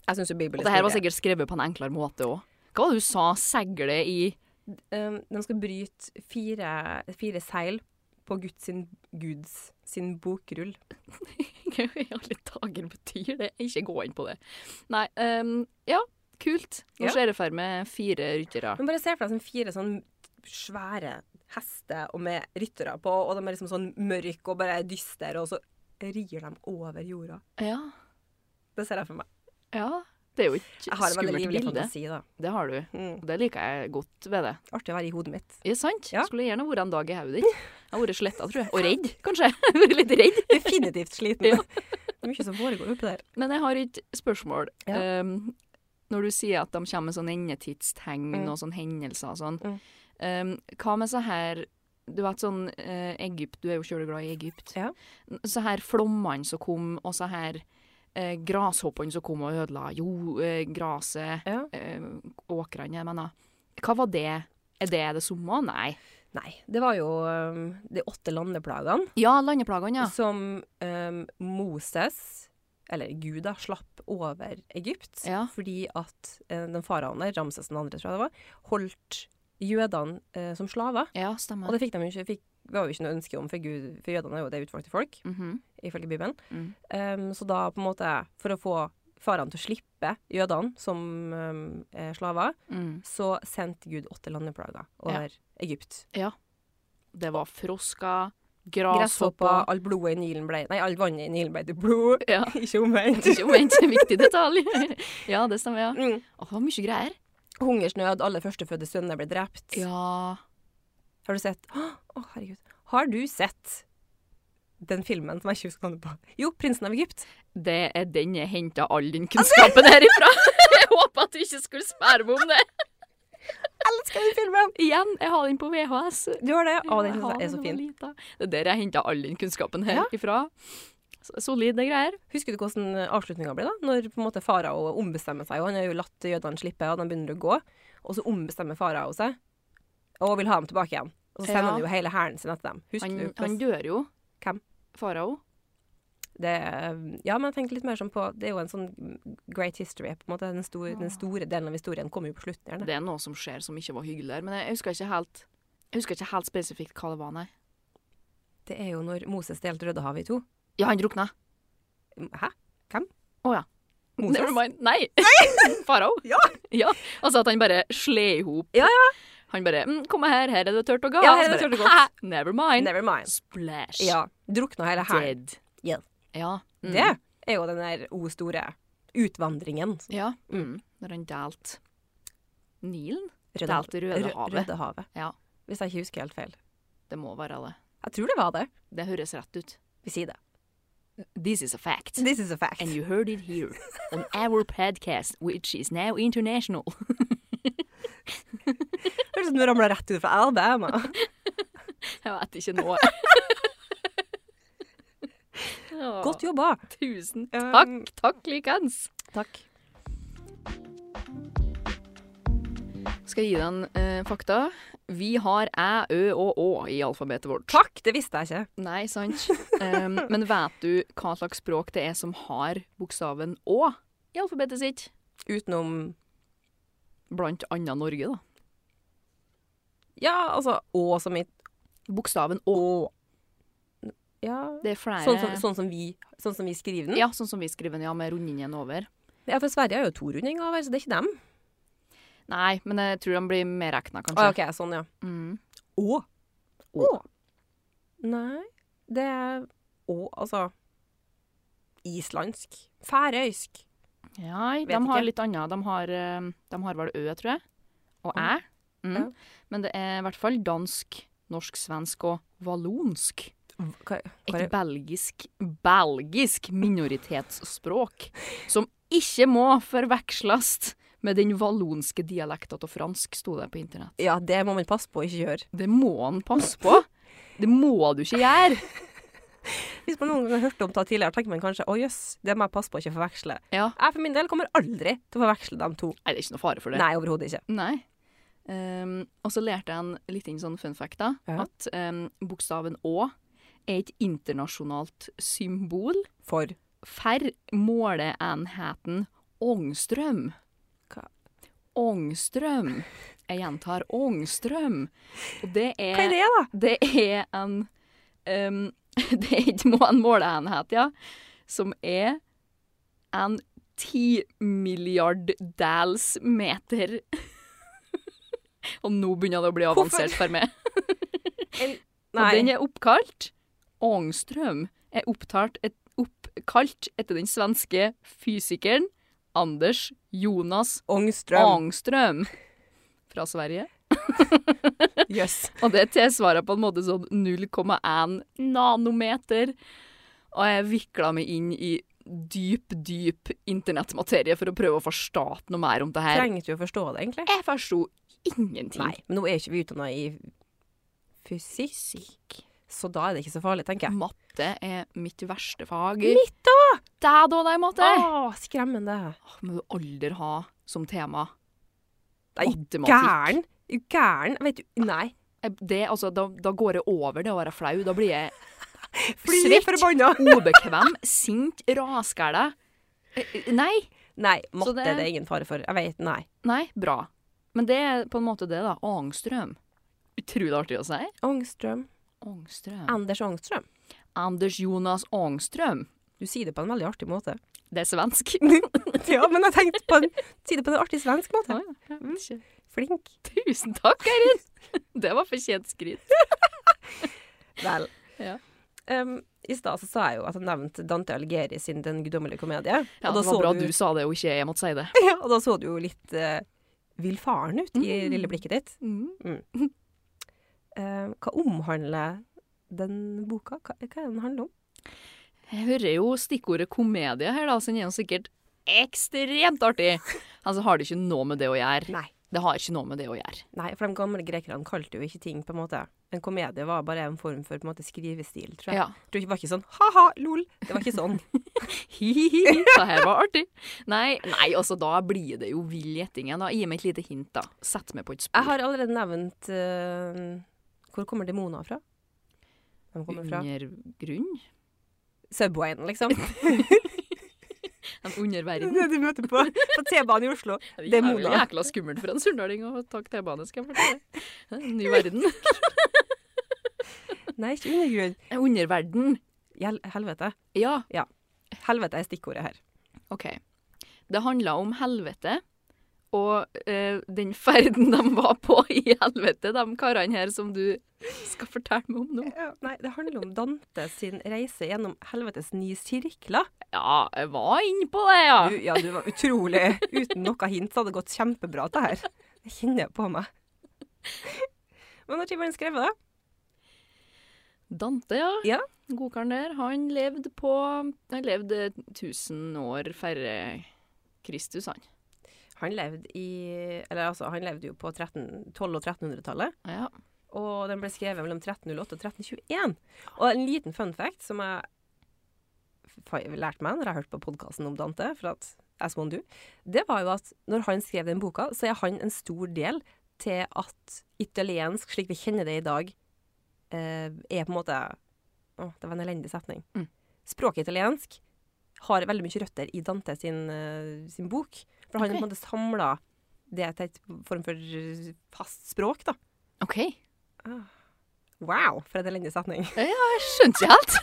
[SPEAKER 2] Jeg syns jo Bibelen
[SPEAKER 1] Og det her var sikkert skrevet på en enklere måte òg. Hva var det du sa? Segle i
[SPEAKER 2] um, de skal bryte fire, fire seil på Guds sin, Guds sin bokrull.
[SPEAKER 1] Hva i alle dager betyr det? Ikke gå inn på det. Nei, ehm, ja, kult. Nå
[SPEAKER 2] Ja.
[SPEAKER 1] ser jeg for meg fire ryttere.
[SPEAKER 2] Men bare se for deg sånn fire sånn svære hester og med ryttere på, og de er liksom sånn mørke og bare dystre, og så rir de over jorda.
[SPEAKER 1] Ja,
[SPEAKER 2] Det ser jeg for meg.
[SPEAKER 1] ja. Det er jo et
[SPEAKER 2] Jeg har en veldig
[SPEAKER 1] skummelt
[SPEAKER 2] livlig
[SPEAKER 1] bilde.
[SPEAKER 2] fantasi, da.
[SPEAKER 1] Det har du.
[SPEAKER 2] Mm.
[SPEAKER 1] Det liker jeg godt ved det.
[SPEAKER 2] Artig å være i hodet mitt.
[SPEAKER 1] Er det sant?
[SPEAKER 2] Ja.
[SPEAKER 1] Skulle gjerne vært en dag i hodet ditt. Jeg har vært sletta, tror jeg. Og redd, kanskje. Vært Litt redd.
[SPEAKER 2] Definitivt sliten. Det er mye som foregår oppi der.
[SPEAKER 1] Men jeg har et spørsmål.
[SPEAKER 2] Ja.
[SPEAKER 1] Ehm, når du sier at de kommer med sånn endetidstegn
[SPEAKER 2] Mm.
[SPEAKER 1] og sånn hendelser og sånn,
[SPEAKER 2] Mm.
[SPEAKER 1] ehm, hva med så her Du vet sånn eh, Egypt, du er jo sjøl glad i Egypt.
[SPEAKER 2] Ja.
[SPEAKER 1] N- Så her flommene som kom, og så her eh, grashoppene som kom og ødela jo, eh, graset,
[SPEAKER 2] Ja.
[SPEAKER 1] eh, åkrene, jeg mener. Hva var det? Er det det samme? Nei.
[SPEAKER 2] Nei. Det var jo um, de åtte landeplagene.
[SPEAKER 1] Ja, landeplagene, ja.
[SPEAKER 2] som ehm, Moses, eller Gud da, slapp over Egypt.
[SPEAKER 1] Ja.
[SPEAKER 2] Fordi at eh, den faraoen der, Ramses den andre, tror jeg det var, holdt jødene eh, som slaver.
[SPEAKER 1] Ja,
[SPEAKER 2] Og
[SPEAKER 1] stemmer.
[SPEAKER 2] det fikk de jo ikke, fikk, var jo ikke noe ønske om, for, Gud, for jødene er jo det utvalgte folk,
[SPEAKER 1] Mhm.
[SPEAKER 2] ifølge Bibelen.
[SPEAKER 1] Mm.
[SPEAKER 2] Ehm, så da på en måte, for å få faraoen til å slippe jødene som ehm, eh, slaver,
[SPEAKER 1] mm.
[SPEAKER 2] så sendte Gud åtte landeplager over Egypt.
[SPEAKER 1] Det var frosker,
[SPEAKER 2] Gresshoppa,
[SPEAKER 1] grasshopper
[SPEAKER 2] all blodet i Nilen ble Nei, all vannet i Nilen ble til blod.
[SPEAKER 1] Ja.
[SPEAKER 2] ikke omvendt.
[SPEAKER 1] Ikke omvendt, en viktig detalj. Ja, det stemmer, ja.
[SPEAKER 2] Mm.
[SPEAKER 1] Å, det var mye greier.
[SPEAKER 2] Hungersnød, alle førstefødte sønner ble drept.
[SPEAKER 1] Ja.
[SPEAKER 2] Har du sett Å, herregud. Har du sett den filmen som jeg ikke husker navnet på? Jo, 'Prinsen av Egypt'.
[SPEAKER 1] Det er den jeg henta all den kunnskapen herifra. Jeg håper at du ikke skulle spørre meg om det.
[SPEAKER 2] Elsker den filmen!
[SPEAKER 1] Igjen, jeg har den på VHS.
[SPEAKER 2] Du har det? Å,
[SPEAKER 1] Jeg
[SPEAKER 2] den synes
[SPEAKER 1] har
[SPEAKER 2] jeg er så
[SPEAKER 1] når jeg
[SPEAKER 2] fin.
[SPEAKER 1] var lita. Det er der jeg henta all den kunnskapen herifra. S- Solide greier.
[SPEAKER 2] Husker du hvordan avslutninga ble, da? Når på en måte farao ombestemmer seg, og han har jo latt jødene slippe, og de begynner å gå. Og så ombestemmer farao seg, og vil ha dem tilbake igjen. Og så sender
[SPEAKER 1] Ja.
[SPEAKER 2] han jo hele hæren sin etter dem. Husker
[SPEAKER 1] Han,
[SPEAKER 2] du?
[SPEAKER 1] han
[SPEAKER 2] hvordan-
[SPEAKER 1] dør jo.
[SPEAKER 2] Hvem?
[SPEAKER 1] Farao.
[SPEAKER 2] Det, er- ja, men jeg tenker litt mer sånn på Det er jo en sånn great history. på en måte. Den store, den store delen av historien kommer jo på slutten. gjerne.
[SPEAKER 1] Det er noe som skjer som ikke var hyggelig der, men jeg husker ikke helt jeg husker ikke helt spesifikt hva det var, nei.
[SPEAKER 2] Det er jo når Moses delte Rødehavet i to.
[SPEAKER 1] Ja, han drukna.
[SPEAKER 2] Hæ? Hvem?
[SPEAKER 1] Å ja.
[SPEAKER 2] Moses?
[SPEAKER 1] Never mind. Nei! Farao.
[SPEAKER 2] Ja.
[SPEAKER 1] ja. Altså at han bare sler i hop.
[SPEAKER 2] Ja,
[SPEAKER 1] Han bare mm, 'Kom her, her er det tørt og godt'.
[SPEAKER 2] Ja, her
[SPEAKER 1] Så
[SPEAKER 2] er det
[SPEAKER 1] bare,
[SPEAKER 2] tørt og godt.
[SPEAKER 1] «Hæ? Never mind.
[SPEAKER 2] Never mind.
[SPEAKER 1] Splash.
[SPEAKER 2] Ja. Drukna hele hæren.
[SPEAKER 1] Dead.
[SPEAKER 2] Ja.
[SPEAKER 1] Ja. Mm.
[SPEAKER 2] Det er jo den der o store utvandringen.
[SPEAKER 1] Ja. Mm. Når han delte Nilen?
[SPEAKER 2] Rødehavet.
[SPEAKER 1] Delte
[SPEAKER 2] Rø-
[SPEAKER 1] Rødehavet.
[SPEAKER 2] Rødehavet.
[SPEAKER 1] Ja.
[SPEAKER 2] Hvis jeg ikke husker helt feil.
[SPEAKER 1] Det må være det.
[SPEAKER 2] Jeg tror det var det.
[SPEAKER 1] Det høres rett ut.
[SPEAKER 2] Vi sier det.
[SPEAKER 1] This is a fact.
[SPEAKER 2] This is a fact.
[SPEAKER 1] And you heard it here on our podcast, which is now international.
[SPEAKER 2] Høres ut som du ramla rett ut fra Alabama.
[SPEAKER 1] Jeg vet ikke nå. Åh,
[SPEAKER 2] Godt jobba.
[SPEAKER 1] Tusen
[SPEAKER 2] Um,
[SPEAKER 1] takk. Takk likeens.
[SPEAKER 2] Takk.
[SPEAKER 1] Skal jeg gi deg en eh, fakta? Vi har æ, ø og å i alfabetet vårt.
[SPEAKER 2] Takk, det visste jeg ikke.
[SPEAKER 1] Nei, sant. Um, men vet du hva slags språk det er som har bokstaven å i alfabetet sitt?
[SPEAKER 2] Utenom
[SPEAKER 1] Blant annet Norge, da.
[SPEAKER 2] Ja, altså Å som i
[SPEAKER 1] Bokstaven å.
[SPEAKER 2] Ja.
[SPEAKER 1] Det er flere
[SPEAKER 2] Sånn som, sånn, som vi, sånn som vi skriver den?
[SPEAKER 1] Ja, sånn som vi skriver den, ja, med rundingen over.
[SPEAKER 2] Ja, for Sverige har jo to rundinger over, så det er ikke dem.
[SPEAKER 1] Nei, men jeg tror den blir medregna,
[SPEAKER 2] Å,
[SPEAKER 1] kanskje.
[SPEAKER 2] OK, sånn, ja.
[SPEAKER 1] Mm.
[SPEAKER 2] Å.
[SPEAKER 1] Å.
[SPEAKER 2] Nei, det er Å, altså Islandsk. Færøysk.
[SPEAKER 1] Ja, de
[SPEAKER 2] Vet
[SPEAKER 1] har
[SPEAKER 2] ikke.
[SPEAKER 1] litt annet. De har, eh, de har vel Ø, tror jeg. Og Æ.
[SPEAKER 2] Ja.
[SPEAKER 1] Mm.
[SPEAKER 2] Ja.
[SPEAKER 1] Men det er i hvert fall dansk, norsk, svensk og vallonsk.
[SPEAKER 2] Hva,
[SPEAKER 1] Et
[SPEAKER 2] hva er
[SPEAKER 1] belgisk, belgisk minoritetsspråk som ikke må forveksles med den vallonske dialekta av fransk, sto det på internett.
[SPEAKER 2] Ja, det må man passe på å ikke gjøre.
[SPEAKER 1] Det må han passe på! Det må du ikke gjøre!
[SPEAKER 2] Hvis man noen gang har hørt om det tidligere, tenker man kanskje å jøss, det må jeg passe på å ikke forveksle.
[SPEAKER 1] Ja.
[SPEAKER 2] Jeg for min del kommer aldri til å forveksle de to.
[SPEAKER 1] Nei, det er ikke noe fare for det.
[SPEAKER 2] Nei, overhodet ikke.
[SPEAKER 1] Nei. Ehm, og så lærte jeg en liten sånn fun fact, da.
[SPEAKER 2] Ja.
[SPEAKER 1] At ehm, bokstaven Å er et internasjonalt symbol
[SPEAKER 2] For
[SPEAKER 1] for måleenheten ångstrøm.
[SPEAKER 2] Hva?
[SPEAKER 1] Ångstrøm. Jeg gjentar ångstrøm. Og det er
[SPEAKER 2] Hva er det, da?
[SPEAKER 1] det er en ehm, Det er ikke må- en måleenhet, ja. Som er en ti milliarddels meter. Og nå begynner det å bli avansert for meg. Og den er oppkalt Ångström er opptalt et, oppkalt etter den svenske fysikeren Anders Jonas
[SPEAKER 2] Ångstrøm.
[SPEAKER 1] Ångström fra Sverige.
[SPEAKER 2] Jøss.
[SPEAKER 1] Og det tilsvarer på en måte sånn 0,1 nanometer. Og jeg vikla meg inn i dyp, dyp internettmaterie for å prøve å forstå noe mer om det her.
[SPEAKER 2] Trenger ikke å forstå det, egentlig.
[SPEAKER 1] Jeg forsto ingenting.
[SPEAKER 2] Nei, men nå er ikke vi utdanna i fysikk, så da er det ikke så farlig, tenker jeg.
[SPEAKER 1] Matte er mitt verste fag.
[SPEAKER 2] Mitt
[SPEAKER 1] òg! Deg da, deg, matte.
[SPEAKER 2] Å, skremmende.
[SPEAKER 1] Åh, Må du aldri ha som tema
[SPEAKER 2] Nei,
[SPEAKER 1] matematikk.
[SPEAKER 2] Gæren. Gæren. Vet du Nei.
[SPEAKER 1] Jeg- Det, altså, da, da går det over det å være flau. Da blir jeg
[SPEAKER 2] Fly
[SPEAKER 1] Svett.
[SPEAKER 2] forbanna.
[SPEAKER 1] obekvem, sint, rasgæla. Eh, eh, Nei.
[SPEAKER 2] Nei, matte
[SPEAKER 1] Så
[SPEAKER 2] det...
[SPEAKER 1] det-
[SPEAKER 2] er det ingen fare for. Jeg vet, nei.
[SPEAKER 1] Nei, bra. Men det er på en måte det, da. Ångstrøm. Utrolig artig å si.
[SPEAKER 2] Ångstrøm.
[SPEAKER 1] Ångstrøm.
[SPEAKER 2] Anders Ångstrøm.
[SPEAKER 1] Anders Jonas Ångstrøm.
[SPEAKER 2] Du sier det på en veldig artig måte.
[SPEAKER 1] Det er svensk.
[SPEAKER 2] ja, men jeg tenkte på en, si det på en artig svensk måte.
[SPEAKER 1] Mm.
[SPEAKER 2] Flink.
[SPEAKER 1] Tusen takk, Eirin! Det var fortjent skryt.
[SPEAKER 2] Vel.
[SPEAKER 1] Ja.
[SPEAKER 2] Um, I stad så sa jeg jo at jeg nevnte Dante Algeri sin Den guddommelige komedie.
[SPEAKER 1] Ja,
[SPEAKER 2] og, da
[SPEAKER 1] det var
[SPEAKER 2] så
[SPEAKER 1] bra
[SPEAKER 2] du,
[SPEAKER 1] du sa det, og ikke jeg måtte si det.
[SPEAKER 2] ja, og da så du jo litt uh, villfaren ut i
[SPEAKER 1] Mm.
[SPEAKER 2] lille blikket ditt. Um, hva omhandler den boka? Hva, hva er den handler om?
[SPEAKER 1] Jeg hører jo stikkordet komedie her, da, så den er jo sikkert ekstremt artig. Altså, har det ikke noe med det å gjøre.
[SPEAKER 2] Nei.
[SPEAKER 1] Det har ikke noe med det å gjøre.
[SPEAKER 2] Nei, for de gamle grekerne kalte jo ikke ting på en måte En komedie var bare en form for på en måte, skrivestil, tror jeg.
[SPEAKER 1] Ja.
[SPEAKER 2] Det var ikke sånn ha-ha, lol. Det var ikke sånn.
[SPEAKER 1] Hihihi, det her var artig. Nei, nei, altså da blir det jo vill gjetting igjen. da. Gi meg et lite hint, da. Sett meg på et
[SPEAKER 2] Jeg
[SPEAKER 1] spor.
[SPEAKER 2] har allerede nevnt eh, Hvor kommer demoner fra? De kommer fra
[SPEAKER 1] Undergrunn?
[SPEAKER 2] Mm, Subwayen, liksom.
[SPEAKER 1] En underverden?
[SPEAKER 2] Det du møter på, på T-banen i Oslo.
[SPEAKER 1] Det er jo
[SPEAKER 2] Demoner.
[SPEAKER 1] jækla skummelt for en surndaling å takke T-bane, skal jeg fortelle. Det er en Ny verden.
[SPEAKER 2] Nei, ikke undergrunn.
[SPEAKER 1] Underverden.
[SPEAKER 2] Hel helvete.
[SPEAKER 1] Ja,
[SPEAKER 2] Helvete er stikkordet her.
[SPEAKER 1] OK. Det handla om helvete. Og eh, den ferden de var på i helvete, de karene her som du skal fortelle meg om nå.
[SPEAKER 2] Nei, det handler om Dante sin reise gjennom helvetes ni sirkler.
[SPEAKER 1] Ja, jeg var inne på det, ja.
[SPEAKER 2] Du, ja, du var utrolig Uten noe hint så hadde det gått kjempebra, det her. Det kjenner jeg på meg. Men når var den skrevet, da?
[SPEAKER 1] Dante, ja.
[SPEAKER 2] Ja.
[SPEAKER 1] Godkaren der. Han levde på Han levde 1000 år færre Kristus, han.
[SPEAKER 2] Han levde i Eller altså, han levde jo på 13, 12- og 1300-tallet.
[SPEAKER 1] Ja.
[SPEAKER 2] Og den ble skrevet mellom 1308 og 1321. Og en liten fun fact som jeg f- fa- lærte meg når jeg hørte på podkasten om Dante, for at as one do, det var jo at når han skrev den boka, så er han en stor del til at italiensk, slik vi kjenner det i dag, eh, er på en måte Å, det var en elendig setning.
[SPEAKER 1] Mm.
[SPEAKER 2] Språket italiensk har veldig mye røtter i Dante sin, eh, sin bok. For han har på en måte samla det til et form for eh, fast språk, da.
[SPEAKER 1] OK. Jeg
[SPEAKER 2] Wow, for en elendig setning.
[SPEAKER 1] skjønte ikke helt.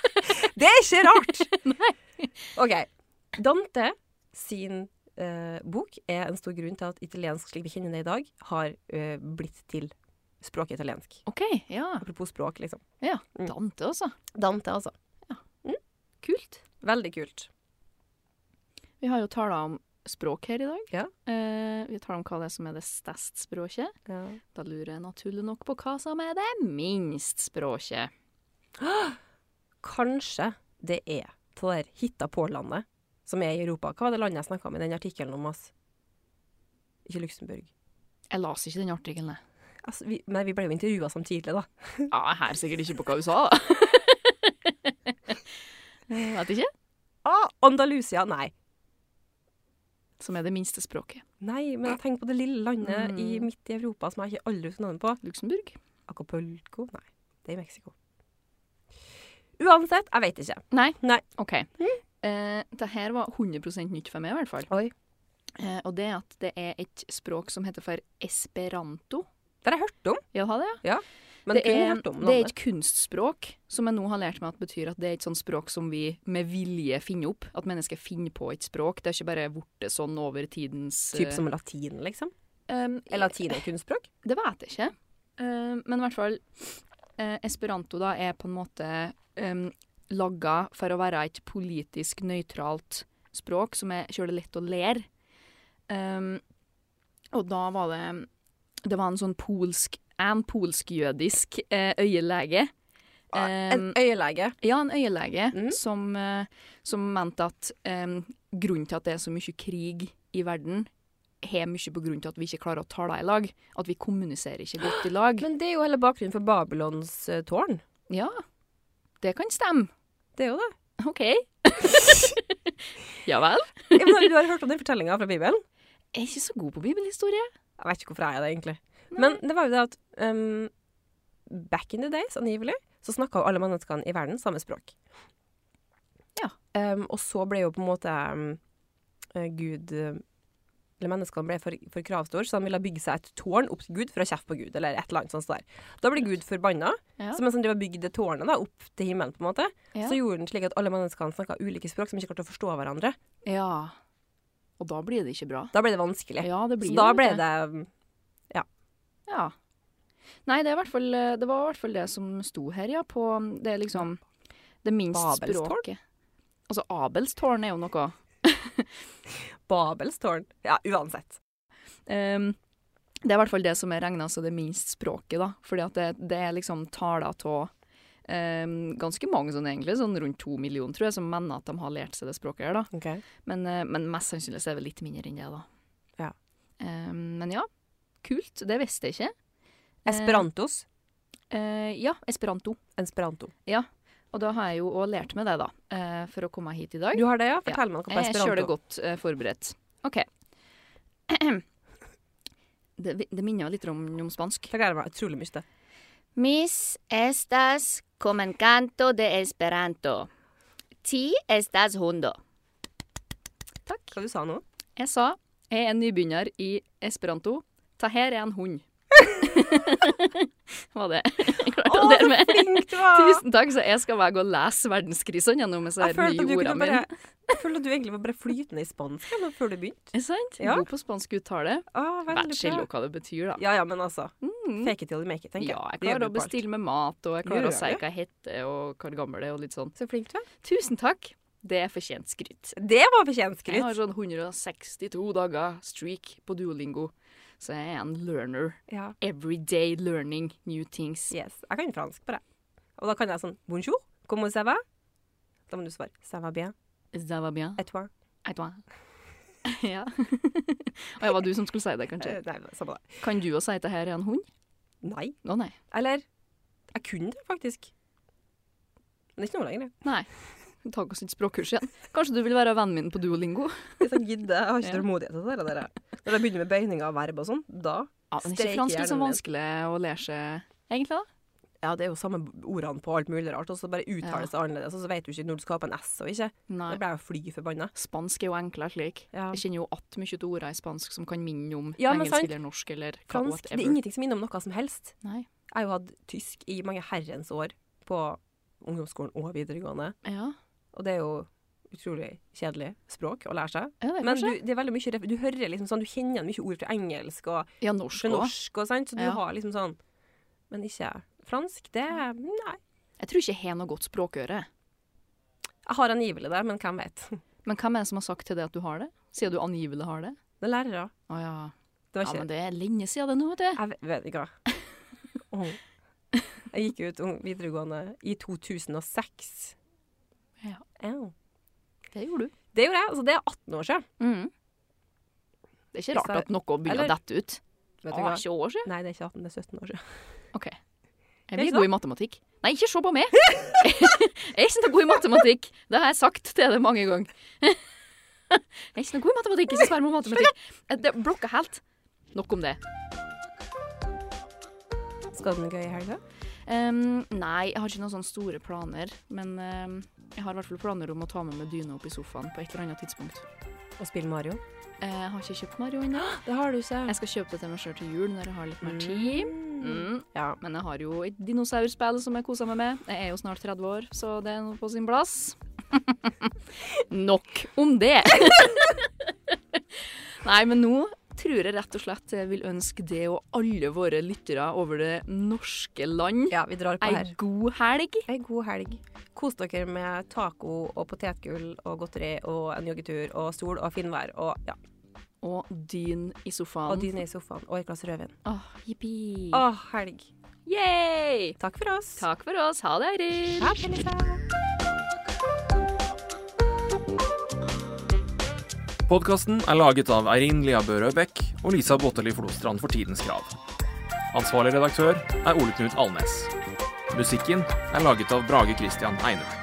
[SPEAKER 2] Det er ikke rart! OK. Dante sin eh, bok er en stor grunn til at italiensk slik vi kjenner det i dag, har eh, blitt til språket italiensk.
[SPEAKER 1] OK, ja.
[SPEAKER 2] Apropos språk, liksom.
[SPEAKER 1] ja.
[SPEAKER 2] Mm.
[SPEAKER 1] Dante, altså.
[SPEAKER 2] Dante, altså.
[SPEAKER 1] Kult.
[SPEAKER 2] Veldig kult.
[SPEAKER 1] Vi har jo tala om språk her i dag.
[SPEAKER 2] Ja.
[SPEAKER 1] Eh, vi taler om hva det er som er det største språket.
[SPEAKER 2] Ja.
[SPEAKER 1] Da lurer jeg naturlig nok på hva som er det minst språket.
[SPEAKER 2] Kanskje det er til det der hitta på-landet som er i Europa. Hva var det landet jeg snakka om i den artikkelen om oss? Ikke Luxembourg.
[SPEAKER 1] Jeg las ikke den artikkelen, jeg.
[SPEAKER 2] Altså, vi, men vi ble jo intervjua samtidig, da.
[SPEAKER 1] Ja, jeg her sikkert ikke på hva hun sa, da. Eh, Vet ikke.
[SPEAKER 2] Ah, Andalusia! Nei.
[SPEAKER 1] Som er det minste språket.
[SPEAKER 2] Nei, men jeg tenker på det lille landet i,
[SPEAKER 1] Mm.
[SPEAKER 2] midt i Europa som jeg ikke aldri husker navnet på.
[SPEAKER 1] Luxembourg.
[SPEAKER 2] Acapulco? Nei, det er i Mexico. Uansett, jeg vet ikke.
[SPEAKER 1] Nei.
[SPEAKER 2] Nei.
[SPEAKER 1] OK. Eh, det her var 100 nytt for meg, i hvert fall.
[SPEAKER 2] Oi.
[SPEAKER 1] Eh, og det er at det er et språk som heter for esperanto.
[SPEAKER 2] Det har jeg hørt om,
[SPEAKER 1] Ja, ha det, ja.
[SPEAKER 2] men
[SPEAKER 1] det, er,
[SPEAKER 2] hørt om
[SPEAKER 1] det er et kunstspråk som jeg nå har lært meg at betyr at det er et sånt språk som vi med vilje finner opp. At mennesker finner på et språk. Det er ikke bare blitt sånn over tidens
[SPEAKER 2] Typ som latin, liksom?
[SPEAKER 1] eh, um,
[SPEAKER 2] Er latin et kunstspråk?
[SPEAKER 1] Det vet jeg ikke. Eh, men i hvert fall eh, Esperanto da er på en måte um, laga for å være et politisk nøytralt språk som er kjølig lett å lære. Um, og da var det Det var en sånn polsk En polsk-jødisk eh, øyelege.
[SPEAKER 2] en
[SPEAKER 1] Um,
[SPEAKER 2] øyelege.
[SPEAKER 1] ja, en øyelege
[SPEAKER 2] Mm.
[SPEAKER 1] som, eh, som mente at em, grunnen til at det er så mye krig i verden, har mye på grunn til at vi ikke klarer å tale i lag. At vi kommuniserer ikke godt i lag.
[SPEAKER 2] Men det er jo hele bakgrunnen for Babylons eh, tårn.
[SPEAKER 1] Ja, det kan stemme.
[SPEAKER 2] Det er jo det.
[SPEAKER 1] OK. ja vel.
[SPEAKER 2] Ja, men du har hørt om den fortellinga fra Bibelen?
[SPEAKER 1] Jeg er ikke så god på bibelhistorie.
[SPEAKER 2] Jeg vet ikke hvorfor jeg er det, egentlig. Men det var jo det at um, back in the days, angivelig, så snakka jo alle menneskene i verden samme språk.
[SPEAKER 1] Ja.
[SPEAKER 2] Um, og så ble jo på en måte um, eh, Gud eh, Eller menneskene ble for, for kravstor, så de ville bygge seg et tårn opp til Gud for å kjefte på Gud, eller et eller annet sånt. Der. Da ble Gud forbanna,
[SPEAKER 1] Ja.
[SPEAKER 2] så mens han drev og bygde det tårnet da, opp til himmelen, på en måte,
[SPEAKER 1] Ja.
[SPEAKER 2] så gjorde han slik at alle menneskene snakka ulike språk som ikke klarte å forstå hverandre.
[SPEAKER 1] ja. Og da blir det ikke bra.
[SPEAKER 2] Da ble det vanskelig.
[SPEAKER 1] Ja, det blir
[SPEAKER 2] så da
[SPEAKER 1] vet
[SPEAKER 2] ble
[SPEAKER 1] du.
[SPEAKER 2] det um,
[SPEAKER 1] Ja. Nei, det, er i hvert fall, eh, det var i hvert fall det som sto her, ja. På det er liksom det minst
[SPEAKER 2] Babelstårn?
[SPEAKER 1] språket. Altså, Abelstårn er jo noe.
[SPEAKER 2] Babels tårn. Ja, uansett.
[SPEAKER 1] Ehm, det er i hvert fall det som er regna som det minst språket, da. Fordi at det, det er liksom taler av ganske mange sånn egentlig, sånn rundt to millioner, tror jeg, som mener at de har lært seg det språket her, da.
[SPEAKER 2] Okay.
[SPEAKER 1] Men, eh, men mest sannsynlig så er det vel litt mindre enn det, da.
[SPEAKER 2] Ja.
[SPEAKER 1] Ehm, men ja, kult. Det visste jeg ikke.
[SPEAKER 2] Esperantos.
[SPEAKER 1] Eh, ja, esperanto.
[SPEAKER 2] Esperanto.
[SPEAKER 1] Og da har jeg jo òg lært meg det, da, eh, for å komme hit i dag. Eh,
[SPEAKER 2] Du har det, ja? Fortell meg noe på
[SPEAKER 1] Jeg kjører det
[SPEAKER 2] esperanto.
[SPEAKER 1] godt eh, forberedt. OK. Det, det minner jo litt om, om spansk.
[SPEAKER 2] Det gleder jeg meg utrolig mye til.
[SPEAKER 4] Mis estas comen canto de Esperanto. Ti estas hundo. Takk.
[SPEAKER 2] Hva du sa nå?
[SPEAKER 1] Jeg sa jeg er en nybegynner i esperanto. Ta her er en hund. Var det. Jeg klarte å lære meg.
[SPEAKER 2] flink du var!
[SPEAKER 1] Tusen takk, så jeg skal bare gå og lese verdenskrisene gjennom disse
[SPEAKER 2] Jeg
[SPEAKER 1] her
[SPEAKER 2] følte, at du
[SPEAKER 1] nye
[SPEAKER 2] kunne
[SPEAKER 1] ordene
[SPEAKER 2] bare,
[SPEAKER 1] mine.
[SPEAKER 2] jeg følte at du egentlig var bare flytende i spansk jeg, nå før du begynte.
[SPEAKER 1] Er det sant?
[SPEAKER 2] Ja.
[SPEAKER 1] God på spansk uttale.
[SPEAKER 2] Ah,
[SPEAKER 1] Vær
[SPEAKER 2] veldig
[SPEAKER 1] chill
[SPEAKER 2] bra.
[SPEAKER 1] hva det betyr, da.
[SPEAKER 2] Ja, ja, men altså.
[SPEAKER 1] Mm.
[SPEAKER 2] Fake it till you make it, tenker
[SPEAKER 1] Ja, jeg
[SPEAKER 2] Det gjør
[SPEAKER 1] klarer å
[SPEAKER 2] du på alt.
[SPEAKER 1] bestille med mat, og jeg klarer
[SPEAKER 2] Gjør
[SPEAKER 1] å si
[SPEAKER 2] det?
[SPEAKER 1] hva jeg heter, og hvor gammel jeg er, og litt sånn.
[SPEAKER 2] Så flink du er.
[SPEAKER 1] Tusen takk. Det er fortjent skryt.
[SPEAKER 2] Det var fortjent
[SPEAKER 1] Jeg har
[SPEAKER 2] skryt.
[SPEAKER 1] sånn 162 dager streak på Duolingo, så jeg er en learner.
[SPEAKER 2] Ja.
[SPEAKER 1] Everyday learning new things.
[SPEAKER 2] Yes. Jeg kan fransk på det. Og da kan jeg sånn Bonjour, comment ça va? Da må du svare Ça va bien,
[SPEAKER 1] Ça va bien?
[SPEAKER 2] et toi?
[SPEAKER 1] Et toi? ja. Og det var du som skulle si det, kanskje.
[SPEAKER 2] Eh, Nei, samme det.
[SPEAKER 1] Kan du også si at det her er en hund?
[SPEAKER 2] Nei.
[SPEAKER 1] Å nei.
[SPEAKER 2] Eller Jeg kunne det faktisk. Men det er ikke noe lenger. jeg.
[SPEAKER 1] Nei. Ta oss et språkkurs igjen. Kanskje du vil være vennen min på Duolingo?
[SPEAKER 2] Hvis jeg gidder. Jeg har ikke
[SPEAKER 1] Ja.
[SPEAKER 2] tålmodighet til det der, dere. Når jeg begynner med bøyninger av verb og sånn, da
[SPEAKER 1] Ja, men ikke
[SPEAKER 2] Streik
[SPEAKER 1] fransk er så
[SPEAKER 2] hjernen min.
[SPEAKER 1] vanskelig å lære seg, egentlig, da.
[SPEAKER 2] Ja, det er jo samme ordene på alt mulig rart, og så bare
[SPEAKER 1] Ja.
[SPEAKER 2] uttales det annerledes, og så vet du ikke når du skal ha på en S og ikke.
[SPEAKER 1] Nei.
[SPEAKER 2] Da ble jeg jo fly forbanna.
[SPEAKER 1] Spansk er jo enklere slik.
[SPEAKER 2] Ja.
[SPEAKER 1] Jeg kjenner jo att mye til ordene i spansk som kan minne om
[SPEAKER 2] Ja, men
[SPEAKER 1] engelsk
[SPEAKER 2] sant.
[SPEAKER 1] eller norsk eller hva-
[SPEAKER 2] Fransk Det
[SPEAKER 1] whatever.
[SPEAKER 2] er ingenting som minner om noe som helst.
[SPEAKER 1] Nei.
[SPEAKER 2] Jeg har jo hatt tysk i mange herrens år på ungdomsskolen og videregående,
[SPEAKER 1] Ja,
[SPEAKER 2] og det er jo utrolig kjedelig språk å lære seg.
[SPEAKER 1] ja det er
[SPEAKER 2] Men du,
[SPEAKER 1] kanskje.
[SPEAKER 2] det er veldig mye ref Du hører liksom sånn Du kjenner igjen mye ord fra engelsk og
[SPEAKER 1] ja, norsk
[SPEAKER 2] fra
[SPEAKER 1] òg.
[SPEAKER 2] norsk og sånt, så du
[SPEAKER 1] Ja.
[SPEAKER 2] har liksom sånn Men ikke fransk. Det Nei.
[SPEAKER 1] Jeg tror ikke jeg har noe godt språkøre.
[SPEAKER 2] Jeg har angivelig det, men hvem vet.
[SPEAKER 1] Men hvem er det som har sagt til deg at du har det? Sier du angivelig har det?
[SPEAKER 2] Det er lærere.
[SPEAKER 1] Å ja.
[SPEAKER 2] Det var
[SPEAKER 1] ja.
[SPEAKER 2] ikke
[SPEAKER 1] Men det er lenge siden det nå, vet du.
[SPEAKER 2] Jeg vet, vet ikke hva. Åh. Jeg gikk ut ung- videregående i 2006.
[SPEAKER 1] Ja.
[SPEAKER 2] Au.
[SPEAKER 1] Det gjorde du.
[SPEAKER 2] Det gjorde jeg. Altså, det er 18 år siden.
[SPEAKER 1] Mm. Det er ikke
[SPEAKER 2] Hvis
[SPEAKER 1] rart at noe begynner å
[SPEAKER 2] eller-
[SPEAKER 1] dette ut.
[SPEAKER 2] Vet du
[SPEAKER 1] Ah,
[SPEAKER 2] hva?
[SPEAKER 1] 20 år siden.
[SPEAKER 2] Nei, det er ikke 18, det er 17 år siden.
[SPEAKER 1] OK.
[SPEAKER 2] Er
[SPEAKER 1] Jeg blir
[SPEAKER 2] ikke
[SPEAKER 1] god i matematikk. Nei, ikke se på meg! Jeg er ikke noe god i matematikk. Det har jeg sagt til deg mange ganger. Jeg er ikke noe god i matematikk. Ikke spør meg om matematikk. Eh, Det blokker helt. Nok om det.
[SPEAKER 2] Skal den gøy i helga?
[SPEAKER 1] Ehm, nei, jeg har ikke noen sånne store planer. Men ehm, jeg har i hvert fall planer om å ta med meg dyna opp i sofaen på et eller annet tidspunkt.
[SPEAKER 2] Og spille Mario?
[SPEAKER 1] Eh, Jeg har ikke kjøpt Mario ennå.
[SPEAKER 2] Det har du ikke.
[SPEAKER 1] Jeg skal kjøpe det til meg sjøl til jul når jeg har litt mer tid. Mm.
[SPEAKER 2] Ja.
[SPEAKER 1] Men jeg har jo et dinosaurspill som jeg koser meg med. Jeg er jo snart 30 år, så det er noe på sin plass. Nok om det! Nei, men nå tror jeg rett og slett jeg vil ønske det og alle våre lyttere over det norske land
[SPEAKER 2] ja, vi drar på
[SPEAKER 1] ei
[SPEAKER 2] her.
[SPEAKER 1] god helg.
[SPEAKER 2] Ei god helg. Kos dere med taco og potetgull og godteri og en joggetur og sol og finvær og, ja,
[SPEAKER 1] Og dyn i
[SPEAKER 2] og
[SPEAKER 1] sofaen.
[SPEAKER 2] dyne i sofaen og et glass rødvin.
[SPEAKER 1] Åh, jippi.
[SPEAKER 2] Å, helg.
[SPEAKER 1] Yay!
[SPEAKER 2] Takk for oss.
[SPEAKER 1] Takk for oss. Ha det, Eirin.
[SPEAKER 2] Ha det, Lisa.
[SPEAKER 3] Podkasten er laget av Eirin Lia Børø Bech og Lisa Botteli Flostrand for Tidens Krav. Ansvarlig redaktør er Ole Knut Alnes. Musikken er laget av Brage Christian Einem.